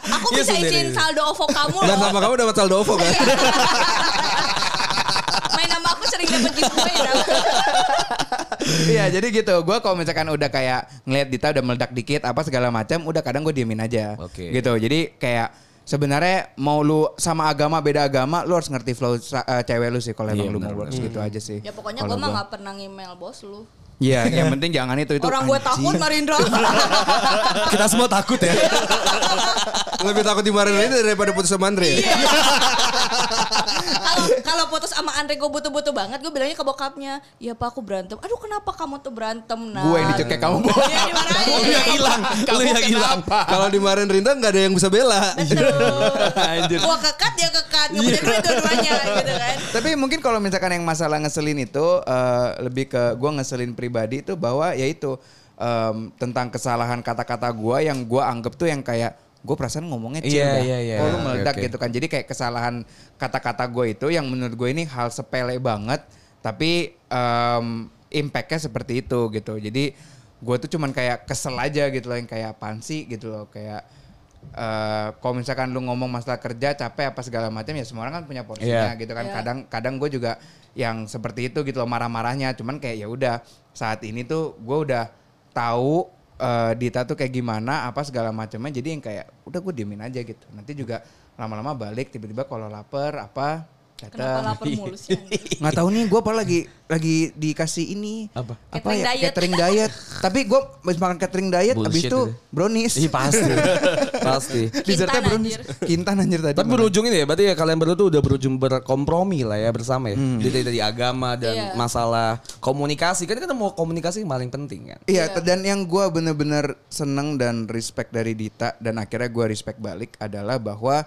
E: aku
C: Iya,
E: bisa
C: sendiri.
E: izin saldo ovo kamu
B: Dan
E: loh Iya.
B: sama kamu dapat saldo OVO kan?
E: main sama aku sering dapet giveaway ya, tau.
D: Iya jadi gitu Gue kalau misalkan udah kayak Ngeliat Dita udah meledak dikit Apa segala macam Udah kadang gue diemin aja
C: Oke.
D: Gitu jadi kayak Sebenarnya mau lu sama agama beda agama lu harus ngerti flow sa- eh, cewek lu sih kalau
C: Iya,
D: emang lu
C: benar,
D: mau works gitu aja sih.
E: Ya pokoknya
D: Kalau
E: gue mah
D: gua.
E: gak pernah ngemail bos lu.
D: Iya, yang penting jangan itu itu.
E: Orang gue
D: anjing.
E: takut Marindra.
C: Kita semua takut ya.
B: (laughs) Lebih takut dimarahin ini daripada putus sama Andre. ya?
C: Iya.
E: Kalau kalau putus sama Andre gue butuh-butuh banget, gue bilangnya ke bokapnya, "Ya Pak, aku berantem." Aduh, kenapa kamu tuh berantem, Nah?
D: Gue yang dicekek kamu. Bo.
E: Iya, dimarahin.
C: Lu yang hilang, lu yang hilang.
B: Kalau dimarahin Rinta nggak ada yang bisa bela.
C: Iya.
E: Betul. Gue kekat dia kekat, nggak punya duit dua-duanya gitu kan.
D: (laughs) Tapi mungkin kalau misalkan yang masalah ngeselin itu eh, lebih ke gue ngeselin pribadi itu bahwa yaitu em, tentang kesalahan kata-kata gue yang gue anggap tuh yang kayak gue perasaan ngomongnya chill
C: Iya,
D: dah.
C: iya, iya.
D: Kok lu
C: Oke,
D: meledak
C: oke.
D: gitu kan. Jadi kayak kesalahan kata-kata gue itu yang menurut gue ini hal sepele banget tapi em impactnya seperti itu gitu. Jadi gue tuh cuman kayak kesel aja gitu loh yang kayak apaan sih gitu loh kayak eh kalau misalkan lu ngomong masalah kerja capek apa segala macam ya semua orang kan punya porsinya
C: Iya.
D: gitu
E: Ya.
D: kan kadang kadang gue juga yang seperti itu gitu loh marah-marahnya cuman kayak ya udah saat ini tuh gue udah tahu eh, Dita tuh kayak gimana apa segala macamnya jadi yang kayak udah gue diemin aja gitu nanti juga lama-lama balik tiba-tiba kalau lapar apa
E: Kenapa
D: datang
E: lapar ya? mulu sih? Andre?
D: nggak tahu nih gue apa lagi lagi dikasih ini
C: Apa?
E: Catering
D: ya
E: diet.
D: catering diet tapi gue habis makan catering diet habis
C: Bullshit
D: itu
C: itu.
D: brownies
C: Iya
B: (laughs)
C: pasti. pasti.
D: Dessertnya
E: Kintan,
D: brownies kintan anjir tadi
C: Tapi
D: makan.
C: berujung ini ya, berarti ya kalian berdua tuh udah berujung berkompromi lah ya bersama ya.
D: Hmm.
C: Dari, dari agama dan
E: Iya.
C: masalah komunikasi. Kan kita mau komunikasi yang paling penting kan.
D: (laughs) Iya, t- dan yang gue bener-bener seneng dan respect dari Dita dan akhirnya gue respect balik adalah bahwa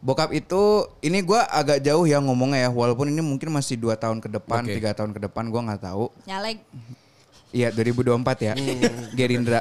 D: bokap itu ini gue agak jauh ya ngomongnya ya walaupun ini mungkin masih dua tahun ke depan
C: Oke.
D: tiga tahun ke depan gue nggak tahu
E: Nyaleg.
D: iya 2024 ya
C: Hmm.
D: (laughs) Gerindra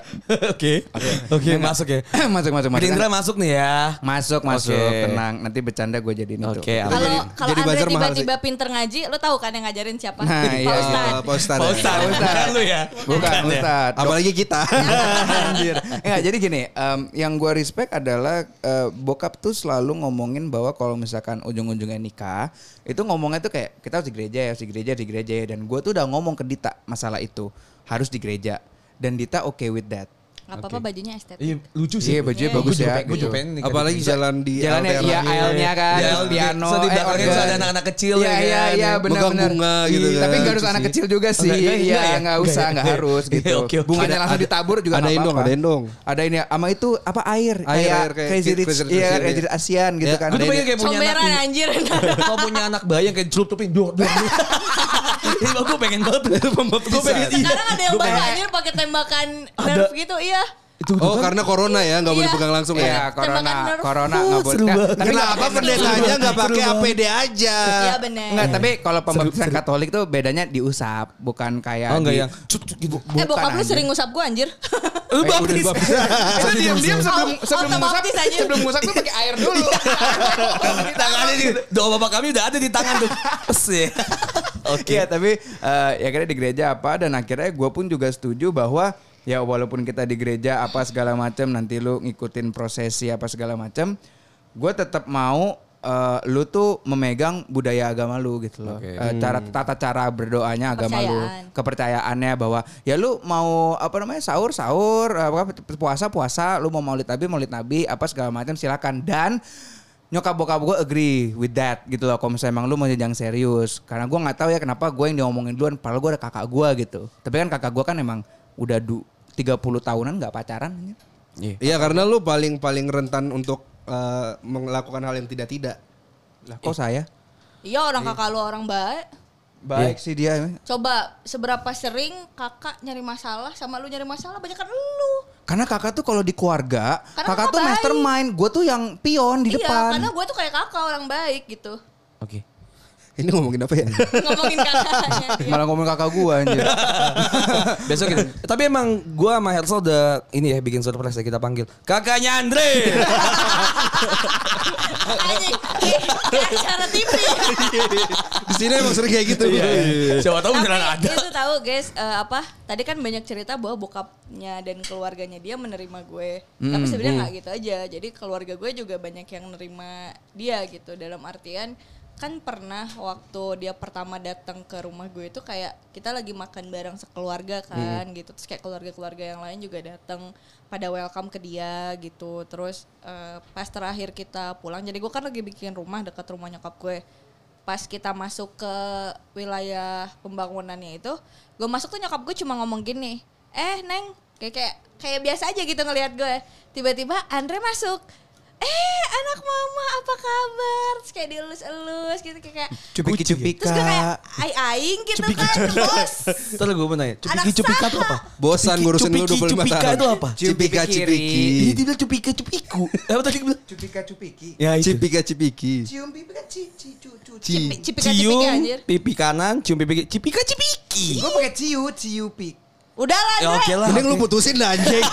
C: Oke. Oke, masuk ya.
D: (clears throat) masuk masuk masuk
C: Gerindra masuk nih ya.
D: masuk masuk
C: Oke.
D: tenang nanti bercanda gue jadiin itu
C: Oke, aman.
E: Kalau
B: jadi-
E: kalau
B: jadi
E: Andre
B: buzzer mahal sih.
E: tiba-tiba pinter ngaji, lo tahu kan yang ngajarin siapa?
D: Nah,
E: Pak
D: iya, iya.
E: Ustadz.
B: Pak Ustadz.
C: Pak Ustadz,
D: Ustadz.
C: bukan lu ya.
D: bukan
C: ya?
D: Ustadz
B: Apalagi kita.
C: Iya.
D: Anjir. Enggak, jadi gini, em, yang gua respect adalah eh, bokap tuh selalu ngomongin bahwa kalau misalkan ujung-ujungnya nikah, itu ngomongnya tuh kayak kita harus di gereja ya, harus di gereja, di gereja ya. Dan gua tuh udah ngomong ke Dita masalah itu, harus di gereja. Dan Dita oke with that.
E: Gak apa-apa bajunya estetik.
C: Iya, lucu sih.
D: Iya, bajunya
C: Gua
D: bagus
C: juga
D: ya,
C: pengen- Gua juga
D: gitu.
C: pengen nih.
B: Apalagi
C: Bisa-
B: jalan di
D: Jalannya
B: Altera
D: iya
B: nih.
D: aisle-nya kan,
C: Iya,
D: terus
C: iya.
D: piano,
C: Terus di
D: eh,
C: belakangnya
D: organ.
C: ada anak-anak kecil
D: Iya,
C: ya
D: iya,
C: kan.
D: iya, benar-benar.
B: Megang bunga gitu
D: Iya, Tapi
B: kan,
D: nggak harus
B: lucu
D: anak
B: sih.
D: kecil juga sih.
C: enggak, enggak
D: Iya,
C: ya?
D: nggak usah,
C: Enggak ya?
D: nggak harus
C: Iya,
D: gitu.
C: oke, oke.
D: Bunganya
C: Ada-
D: langsung
C: ada-
D: ditabur juga
B: ada
D: nggak
B: indong,
D: apa-apa.
B: ada indong.
D: Ada ini sama itu apa air?
B: Air,
D: Kayak
B: air, kayak
D: Crazy Rich.
B: Crazy Rich
D: Iya,
B: Asian,
D: Crazy
B: iya.
D: Rich Asian gitu
B: Iya,
D: kan.
C: Ya, Gua tuh
B: Ada
C: pengen
B: ini.
C: kayak punya anak.
E: Comberan anjir.
C: Kalau punya anak bayang kayak dicelupin dor dor.
D: (laughs)
C: dor. Ini mah gue pengen banget. Gue pengen iya.
E: Sekarang ada yang
C: Gua
E: baru
C: pengen-
E: anjir pakai tembakan nerf gitu, iya.
C: Itu
B: Oh
C: kan
B: karena corona ya nggak boleh
E: Iya.
B: pegang langsung
D: Iya,
B: ya.
D: corona,
E: Tembakan nerf.
D: corona nggak
C: Uh,
D: boleh.
C: seru
D: Nah,
C: banget.
D: Tapi nggak
B: Kenapa
D: apa-apa.
B: pendetanya nggak pakai
C: Seru banget.
B: APD aja?
D: Nah,
E: Iya benar.
D: Enggak, tapi kalau pembaptisan Katolik tuh bedanya diusap, bukan kayak
C: Oh enggak
D: di-
C: yang cut, cut gitu.
E: Eh bokap lu
D: anjing.
E: sering ngusap gua anjir.
C: Lu baptis.
D: (laughs) Itu diam-diam sebelum
E: Auto-
D: sebelum
E: auto
D: ngusap,
E: baptis aja.
D: sebelum ngusap tuh pakai air dulu.
C: Iya.
D: (laughs)
C: Tangannya gitu. Doa bapak kami udah ada di tangan tuh. Pes ya. Oke.
D: Iya tapi eh, ya akhirnya di gereja apa dan akhirnya gue pun juga setuju bahwa ya walaupun kita di gereja apa segala macam nanti lu ngikutin prosesi apa segala macam, gue tetap mau eh, lu tuh memegang budaya agama lu gitu loh.
C: Oke.
D: Eh, cara tata cara berdoanya agama lu,
E: Kepercayaan.
D: kepercayaannya bahwa ya lu mau apa namanya sahur sahur, apa puasa puasa, lu mau maulid nabi maulid nabi apa segala macam silakan dan nyokap bokap gue agree with that gitu loh kalau misalnya emang lu mau jenjang serius karena gue nggak tahu ya kenapa gue yang diomongin duluan padahal gue ada kakak gue gitu tapi kan kakak gue kan emang udah du 30 tahunan nggak pacaran
B: Iya karena lu paling paling rentan untuk eh, melakukan hal yang tidak tidak.
D: lah kok saya
E: Iya orang kakak lu orang baik.
D: baik
B: Iya.
D: sih dia
E: Coba seberapa sering kakak nyari masalah sama lu nyari masalah banyak kan lu.
D: karena kakak tuh kalau di keluarga
E: Karena
D: kakak
E: kakak
D: tuh
E: baik.
D: mastermind gue tuh yang pion di
E: Iya,
D: depan
E: karena gue tuh kayak kakak orang baik gitu.
D: oke
B: Ini ngomongin apa ya?
E: Ngomongin kakaknya.
D: (laughs)
E: dia.
D: malah ngomong kakak gue anjir
C: Besok gitu. Tapi emang gue sama Hersel udah ini ya bikin surprise ya kita panggil. Kakaknya (laughs) Andre.
E: Anjing, kayak Iya, kayak acara TV.
B: Di sini emang sering kayak gitu.
C: Iya, Siapa tahu beneran
E: Tapi
C: ada.
E: itu tahu guys, eh, apa? Tadi kan banyak cerita bahwa bokapnya dan keluarganya dia menerima gue.
C: Hmm,
E: Tapi sebenarnya nggak gitu aja. Jadi keluarga gue juga banyak yang nerima dia gitu. Dalam artian kan pernah waktu dia pertama datang ke rumah gue itu kayak kita lagi makan bareng sekeluarga
C: Hmm.
E: kan gitu terus kayak keluarga-keluarga yang lain juga datang pada welcome ke dia gitu terus eh, pas terakhir kita pulang jadi gue kan lagi bikin rumah dekat rumah nyokap gue pas kita masuk ke wilayah pembangunannya itu gue masuk tuh nyokap gue cuma ngomong gini eh neng kayak kayak kayak biasa aja gitu ngelihat gue tiba-tiba Andre masuk eh anak mama apa kabar terus kayak dielus-elus gitu kayak kayak- terus gue kayak
D: cupika
E: ai aing gitu kan bos
C: Ntar gue mau nanya.
E: Anak
C: Cupiki-cupika
E: saha.
C: itu apa?
B: Bosan ngurusin lu 25
C: Cupiki-
B: tahun.
C: Cupika itu apa?
B: Cipika
D: Cupiki
B: cipiki.
D: kiri.
C: Ini dia bilang cupika-cupiku. Apa tadi bilang?
D: cupika cupiki
C: Ya
B: Cipika cipiki.
D: cium pipi kan ci ci cu cu
E: Cipi- cipika
C: cium
E: cipika anjir
C: pipi kanan, cium pipi kiri. Cipika cipiki.
D: gue pakai ciu ciu pik
E: udahlah
C: Ya
E: Andre.
C: oke lah.
B: Mending lu putusin lah anjing.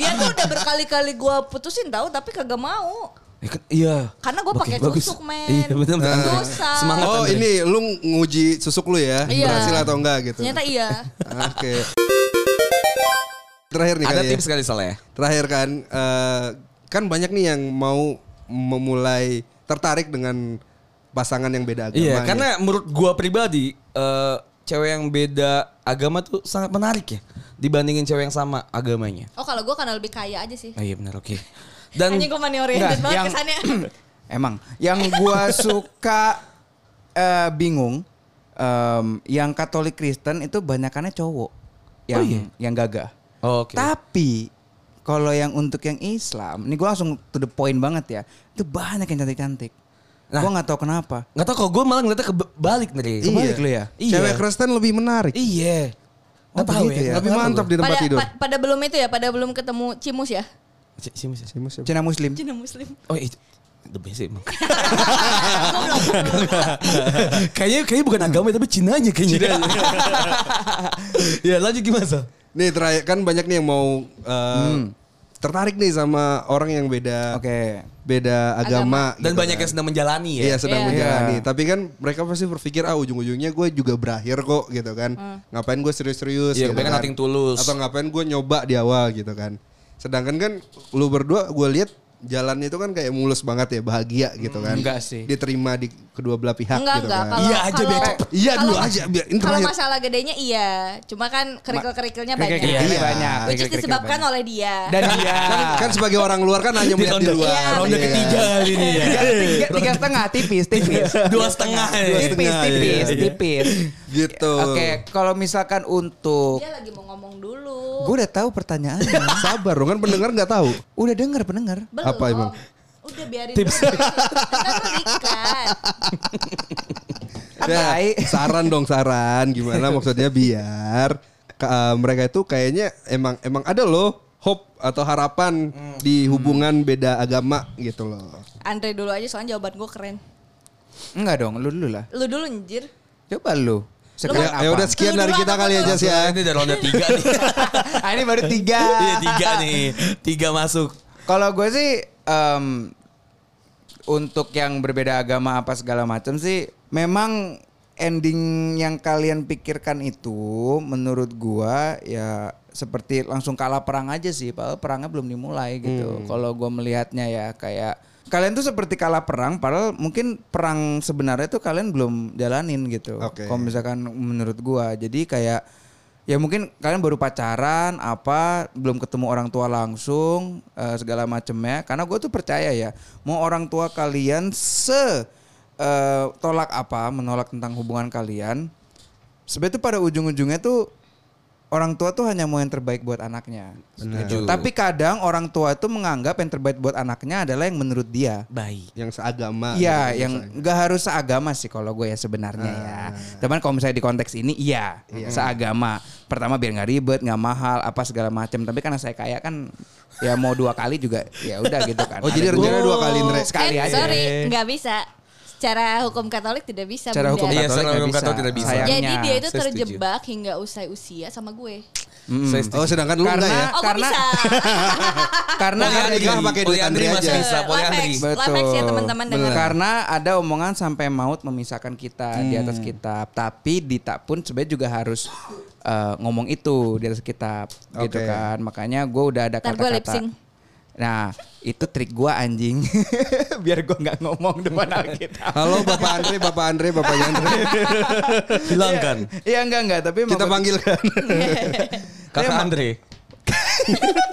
E: dia tuh udah berkali-kali gue putusin tahu tapi kagak mau
C: Ya kan- Iya.
E: karena gue
C: Oke,
E: pakai
C: bagus.
E: tusuk men
C: Iya benar benar.
E: Dosa.
C: (laughs) Semangat.
B: Oh
C: Andre.
B: ini lu nguji susuk lu ya
E: Iya.
B: berhasil atau enggak gitu.
E: ternyata iya
B: Oke. Terakhir nih
C: Ada
B: kali ya.
C: tips kali soalnya.
B: Terakhir kan eh, kan banyak nih yang mau memulai tertarik dengan pasangan yang beda agama.
C: Iya,
B: ya.
C: karena menurut gua pribadi eh, cewek yang beda agama tuh sangat menarik ya dibandingin cewek yang sama agamanya.
E: Oh kalau gue karena lebih kaya aja sih.
C: Oh, iya benar oke. Dan
E: Anjing gue money oriented
D: Enggak,
E: banget
D: yang-
E: kesannya.
D: (clears throat) Emang yang gua suka eh, bingung em, yang Katolik Kristen itu banyakannya cowok yang
B: iya?
D: yang gagah.
C: Oh, oke.
D: Tapi kalau yang untuk yang Islam, ini gua langsung to the point banget ya. Itu banyak yang cantik-cantik.
C: Nah.
D: Gua nggak tahu kenapa.
C: nggak tau kok gua malah ngeliatnya kebalik nih.
D: Kebalik lu ya?
C: Iya.
B: Cewek Kristen lebih menarik.
C: Iya.
D: Oh,
C: Nggak tahu
D: begitu
C: ya.
D: ya.
B: Lebih mantap di tempat
E: pada,
B: tidur.
E: pa- pada belum itu ya, pada belum ketemu Cimus ya.
C: Simus ya.
B: Siapa, siapa?
D: Cina Muslim.
E: Cina Muslim.
C: Oh itu the best sih emang. (laughs) kayaknya kayaknya bukan agama ya, tapi Cinanya kayaknya. (laughs) ya lanjut gimana? Sal?
B: Nih terakhir kan banyak nih yang mau eh,
C: Hmm.
B: tertarik nih sama orang yang beda
D: Oke.
B: beda agama.
C: Dan
B: gitu
C: banyak
B: kan.
C: yang sedang menjalani ya.
B: Iya sedang
E: Iya.
B: menjalani. Tapi kan mereka pasti berpikir ah ujung-ujungnya gue juga berakhir kok gitu kan.
E: Hmm.
B: Ngapain gue serius-serius?
C: Iya,
B: gitu
C: kebanyakan nothing tulus.
B: Atau ngapain gue nyoba di awal gitu kan. Sedangkan kan lu kan berdua gue lihat jalannya itu kan kayak mulus banget ya, bahagia gitu kan.
D: Enggak sih.
B: Diterima di kedua belah pihak
E: (laughs) Enggak,
B: gitu
E: enggak.
B: kan.
E: Kalau,
C: Iya aja,
E: kalau-
C: Beb.
B: Iya dulu
E: kalau-
B: aja biar ini
E: Kalau
B: terakhir.
E: masalah gedenya iya. Cuma kan kerikil-kerikilnya banyak.
D: Kerikil-kerikil
B: Iya.
D: banyak.
E: Which is
D: Kerikil-kerikil
E: disebabkan
D: banyak.
E: oleh dia.
D: dan iya. dia
B: Kan sebagai orang luar kan hanya melihat di luar. iya
C: Ronde
B: kan?
C: ketiga kali ini ya.
D: tiga, tiga, tiga setengah tipis tipis
C: Dua setengah ya.
D: tipis tipis
B: setengah,
D: tipis,
B: iya. Gitu.
D: oke kalau misalkan untuk
E: Dia lagi mau ngomong dulu.
D: gue udah tahu pertanyaannya
B: Sabar dong kan pendengar nggak tahu.
D: udah dengar pendengar
E: Belum.
B: Apa emang?
E: Udah biarin Kan Tips. dulu. Ntar lu ikat.
B: Ya,
D: Atai.
B: (laughs) saran dong saran gimana maksudnya biar ke- eh, mereka itu kayaknya emang emang ada loh hope atau harapan
D: Hmm.
B: di hubungan beda agama gitu loh.
E: Andre dulu aja soalnya jawaban gue keren.
D: enggak dong lu dulu lah
E: Lu dulu anjir.
D: coba lu
B: Ya, ya udah sekian
E: Lu
B: dari
E: duluan
B: kita
E: apa
B: kali
E: dulu?
B: aja sih ya.
C: Ini udah ronde tiga nih.
D: (laughs) Ah, ini baru tiga
C: Iya tiga nih. Tiga masuk.
D: Kalau gue sih em, untuk yang berbeda agama apa segala macam sih memang ending yang kalian pikirkan itu menurut gua ya seperti langsung kalah perang aja sih padahal perangnya belum dimulai gitu. Kalau gua melihatnya ya kayak kalian tuh seperti kalah perang padahal mungkin perang sebenarnya tuh kalian belum jalanin gitu.
B: Oke.
D: Kalau misalkan menurut gua jadi kayak ya mungkin kalian baru pacaran apa belum ketemu orang tua langsung eh, segala macemnya karena gue tuh percaya ya mau orang tua kalian se eh, tolak apa menolak tentang hubungan kalian sebenarnya tuh pada ujung-ujungnya tuh orang tua tuh hanya mau yang terbaik buat anaknya
C: Setuju.
D: tapi kadang orang tua tuh menganggap yang terbaik buat anaknya adalah yang menurut dia
C: baik.
B: Yang seagama.
D: Iya,
B: gitu,
D: yang nggak harus seagama sih kalau gue ya sebenarnya ya. Cuman kalau misalnya di konteks ini, iya seagama. Pertama biar nggak ribet, nggak mahal, apa segala macam. Tapi karena saya kaya kan, ya mau dua kali juga, ya udah gitu kan.
B: Oh, jadi
D: Ada
B: rencananya dua kali, Ndre?
D: Sekali
E: Eh,
D: aja.
E: Sorry, nggak bisa. Secara hukum Katolik tidak bisa.
D: Cara
E: Bunda.
D: hukum
C: Iya,
D: Katolik
C: secara
D: nggak
C: hukum
D: bisa.
C: Katolik tidak bisa.
D: Sayangnya.
E: Jadi dia itu
C: saya setuju.
E: terjebak hingga usai usia sama gue.
B: Saya setuju. Oh sedangkan lu enggak ya?
E: Oh, gue
D: hmm. Karena-
E: bisa.
D: karena
C: Oh, iya, Nah,
B: Poliandri.
D: ada-
B: nikah pakai duit
C: Poliandri
B: Andri
C: masih
B: aja.
C: bisa poliandri.
E: Life hacks, life hacks ya teman-teman dengar.
D: Karena ada omongan sampai maut memisahkan kita
B: Hmm.
D: di atas kitab. Tapi Dita pun sebenarnya juga harus eh, ngomong itu di atas kitab gitu
B: Oke.
D: kan. Makanya gue udah ada
E: Ntar gua lip
D: kata-kata.
E: sync.
D: Nah, itu trik gue anjing. (laughs) Biar gue nggak ngomong
B: (laughs)
D: depan Alkitab.
B: Halo Bapak Andre, Bapak Andre, Bapak
D: (laughs)
B: Yandre.
C: Hilangkan.
D: Iya enggak enggak, tapi
B: Kan.
D: emang
B: Kita
D: gua- (laughs)
B: panggilkan.
C: Kakak Andre.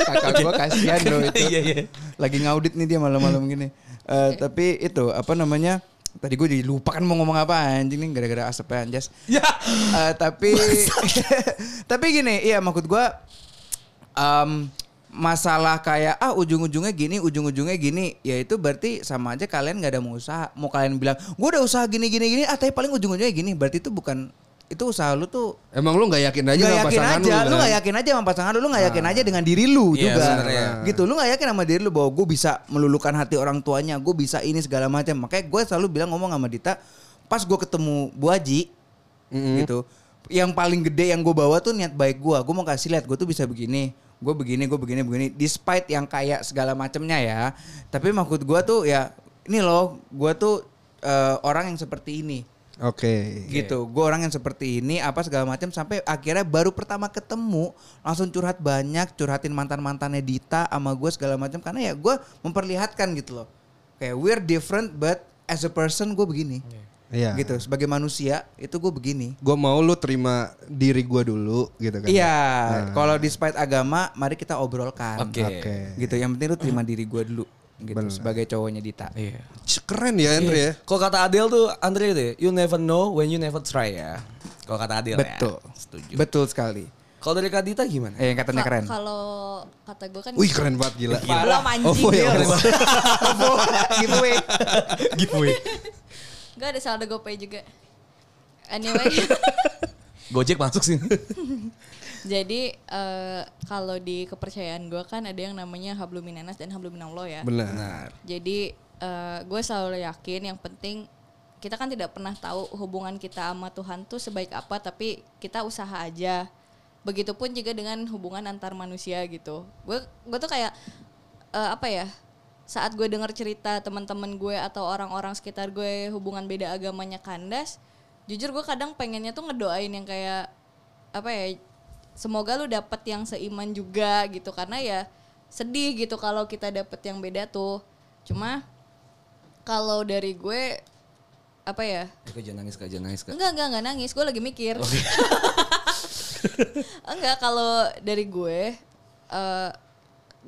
D: kakak gue kasihan loh itu.
C: Iya, iya.
D: Lagi ngaudit nih dia malam-malam gini. Eh, tapi itu apa namanya? Tadi gue jadi lupa kan mau ngomong apa anjing nih gara-gara asapnya anjas.
C: Ya.
D: Eh, tapi (laughs) tapi gini, iya maksud gua em, masalah kayak ah ujung-ujungnya gini, ujung-ujungnya gini, ya itu berarti sama aja kalian nggak ada mau usaha. Mau kalian bilang, gua udah usaha gini gini gini, ah tapi paling ujung-ujungnya gini, berarti itu bukan itu usaha lu tuh
B: Emang lu nggak yakin aja
D: Gak
B: sama
D: yakin
B: pasangan Nah.
D: aja, lu,
B: kan?
D: gak yakin aja sama pasangan lu, lu gak yakin aja dengan diri lu
C: Iya,
D: juga.
C: sebenarnya.
D: Gitu, lu gak yakin sama diri lu bahwa gue bisa melulukan hati orang tuanya, gue bisa ini segala macam. Makanya gue selalu bilang ngomong sama Dita, pas gue ketemu Bu Haji, gitu, yang paling gede yang gue bawa tuh niat baik gue. Gue mau kasih lihat gue tuh bisa begini, gue begini, gue begini, begini. Despite yang kayak segala macemnya ya, tapi maksud gue tuh ya, ini loh, gue tuh eh, orang yang seperti ini
B: Oke.
D: gitu gue orang yang seperti ini apa segala macam sampai akhirnya baru pertama ketemu langsung curhat banyak curhatin mantan mantannya Dita sama gue segala macam karena ya gue memperlihatkan gitu loh kayak we're different but as a person gue begini
B: Iya.
D: gitu sebagai manusia itu gue begini
B: Gue mau lu terima diri gue dulu gitu kan.
D: iya kalau despite agama mari kita obrolkan
C: Oke.
B: Oke.
D: gitu yang penting lu terima diri gue dulu gitu sebagai cowoknya Dita
B: Iya. Cih, Keren ya Andre
D: Iya.
B: ya.
C: Kalau kata Adele tuh Andre itu ya, you never know when you never try ya. Kalau kata Adele ya.
D: betul
C: Setuju.
D: betul sekali
C: Kalau dari Kak Dita gimana?
D: eh yang katanya
E: Ka-
D: keren
E: Kalau kata gue kan
B: Wih keren banget gila.
E: belum anjing.
B: Oh, iya.
D: (laughs) giveaway
C: Giveaway.
E: Gue ada saldo GoPay juga. Anyway,
C: Gojek masuk sini.
E: jadi eh, kalau di kepercayaan gue kan ada yang namanya habluminanas dan habluminallah ya.
B: Benar.
E: Jadi eh, gue selalu yakin yang penting kita kan tidak pernah tahu hubungan kita sama Tuhan tuh sebaik apa tapi kita usaha aja. Begitupun juga dengan hubungan antar manusia gitu. Gue gue tuh kayak eh, apa ya? Saat gue dengar cerita teman-teman gue atau orang-orang sekitar gue hubungan beda agamanya kandas, jujur gue kadang pengennya tuh ngedoain yang kayak apa ya? Semoga lu dapet yang seiman juga gitu karena ya sedih gitu kalau kita dapet yang beda tuh. Cuma kalau dari gue apa ya?
C: Kak jangan nangis kak, jangan nangis kak. Oh, gitu.
E: Enggak, enggak, enggak nangis. Gue lagi mikir. enggak, kalau dari gue eh,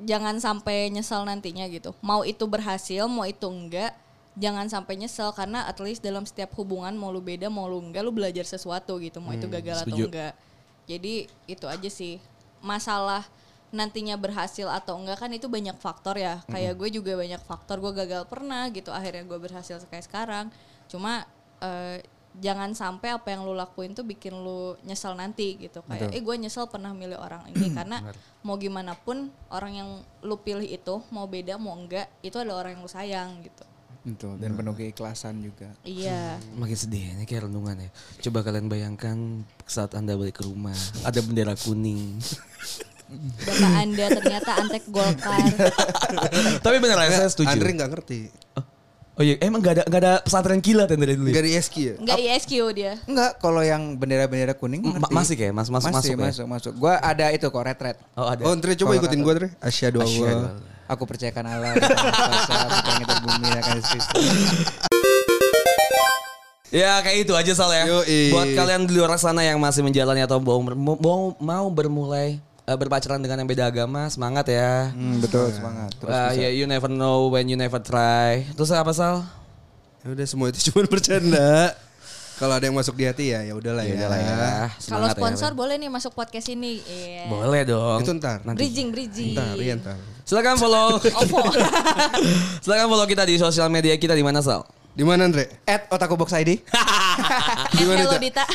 E: jangan sampai nyesel nantinya gitu. Mau itu berhasil, mau itu enggak, jangan sampai nyesel karena at least dalam setiap hubungan mau lu beda, mau lu enggak, lu belajar sesuatu gitu. Mau itu gagal atau
C: setuju.
E: enggak. Jadi itu aja sih. Masalah nantinya berhasil atau enggak kan itu banyak faktor ya. Kayak gue juga banyak faktor. Gue gagal pernah gitu. Akhirnya gue berhasil kayak sekarang. Cuma eh, jangan sampai apa yang lu lakuin tuh bikin lu nyesel nanti gitu. Kayak eh gue nyesel pernah milih orang
C: (clears throat)
E: ini karena mau gimana pun orang yang lu pilih itu mau beda mau enggak itu adalah orang yang lu sayang gitu.
D: Betul, dan penuh keikhlasan juga.
E: Iya.
C: (laughs) Makin sedih ya, ini kayak renungan ya. Coba kalian bayangkan saat anda balik ke rumah, ada bendera kuning.
E: Bapak Anda
C: (laughs)
E: ternyata antek Golkar.
C: Tapi bener lah, saya setuju.
B: Andre nggak ngerti.
C: Oh iya, emang gak ada, gak ada pesantren kilat yang dari dulu ya?
B: Gak di SQ ya?
E: Enggak ISQ dia.
D: Enggak, kalau yang bendera-bendera kuning
C: Ma-
D: ngerti.
C: masih kayak, mas- masuk-
D: masih,
C: masuk ya?
D: masuk, masuk. Gua ada itu kok retret.
C: Oh ada.
B: Oh Andre coba
D: Kalau
B: ikutin
D: kata-
B: gue Andre. Asyhadu Allah.
D: Aku percayakan Allah. di tangan kuasa, langit dan bumi dan kasih Kristus.
C: Ya kayak itu aja Sal ya.
B: Yoi.
C: Buat kalian di luar sana yang masih menjalani atau mau, mau, mau bermulai eh, berpacaran dengan yang beda agama, semangat ya.
D: Hmm, betul, semangat. Terus
C: Eh, ya, you never know when you never try. Terus apa Sal?
B: Ya udah semua itu (laughs) cuma bercanda. Kalau ada yang masuk di hati ya ya udahlah ya.
C: Udahlah ya.
E: Kalau
C: Semangat ya.
E: sponsor boleh nih masuk podcast ini. Iya.
C: Boleh dong.
B: Itu ntar.
E: Bridging, bridging.
B: Ntar, iya ntar.
C: Silakan follow.
E: Oh.
D: (laughs)
C: Silakan follow kita di sosial media kita di mana Sal?
B: Di mana Andre?
D: At Otaku Box ID.
E: Eh, Hello
D: (laughs)
E: Dita.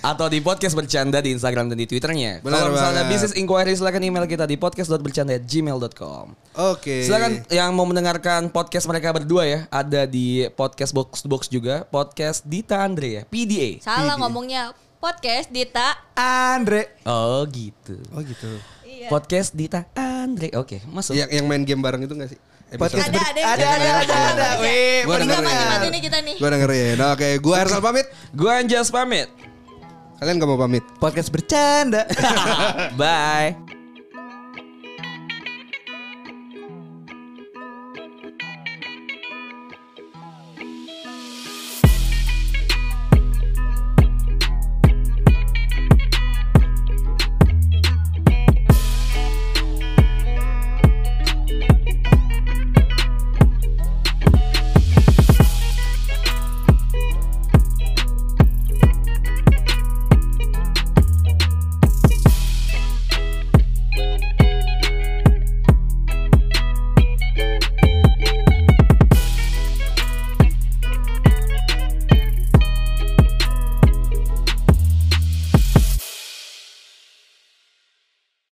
C: Atau di podcast bercanda di Instagram dan di Twitternya.
B: Benar
C: Kalau misalnya
B: banget.
C: bisnis inquiry silakan email kita di podcast.bercanda@gmail.com.
B: Oke.
C: Silakan yang mau mendengarkan podcast mereka berdua ya, ada di podcast box to box juga, podcast Dita Andre ya, PDA.
E: Salah ngomongnya podcast Dita.
D: Andre.
C: Oh gitu.
B: Oh gitu.
E: Iya.
C: Podcast Dita Andre. Oke, masuk.
B: Yang yang main game bareng itu gak sih? Episode.
D: Podcast
E: Ada,
D: ber-
E: ada,
D: ada, ada, ada, ada. Wih,
B: Gua
E: Ini gak
D: bener.
B: dengerin.
E: mati-mati nih kita nih.
B: Gue dengerin. Oke, gue Arsal pamit.
C: Gue Anjas pamit.
B: Kalian gak mau pamit?
D: Podcast bercanda.
C: (laughs) Bye.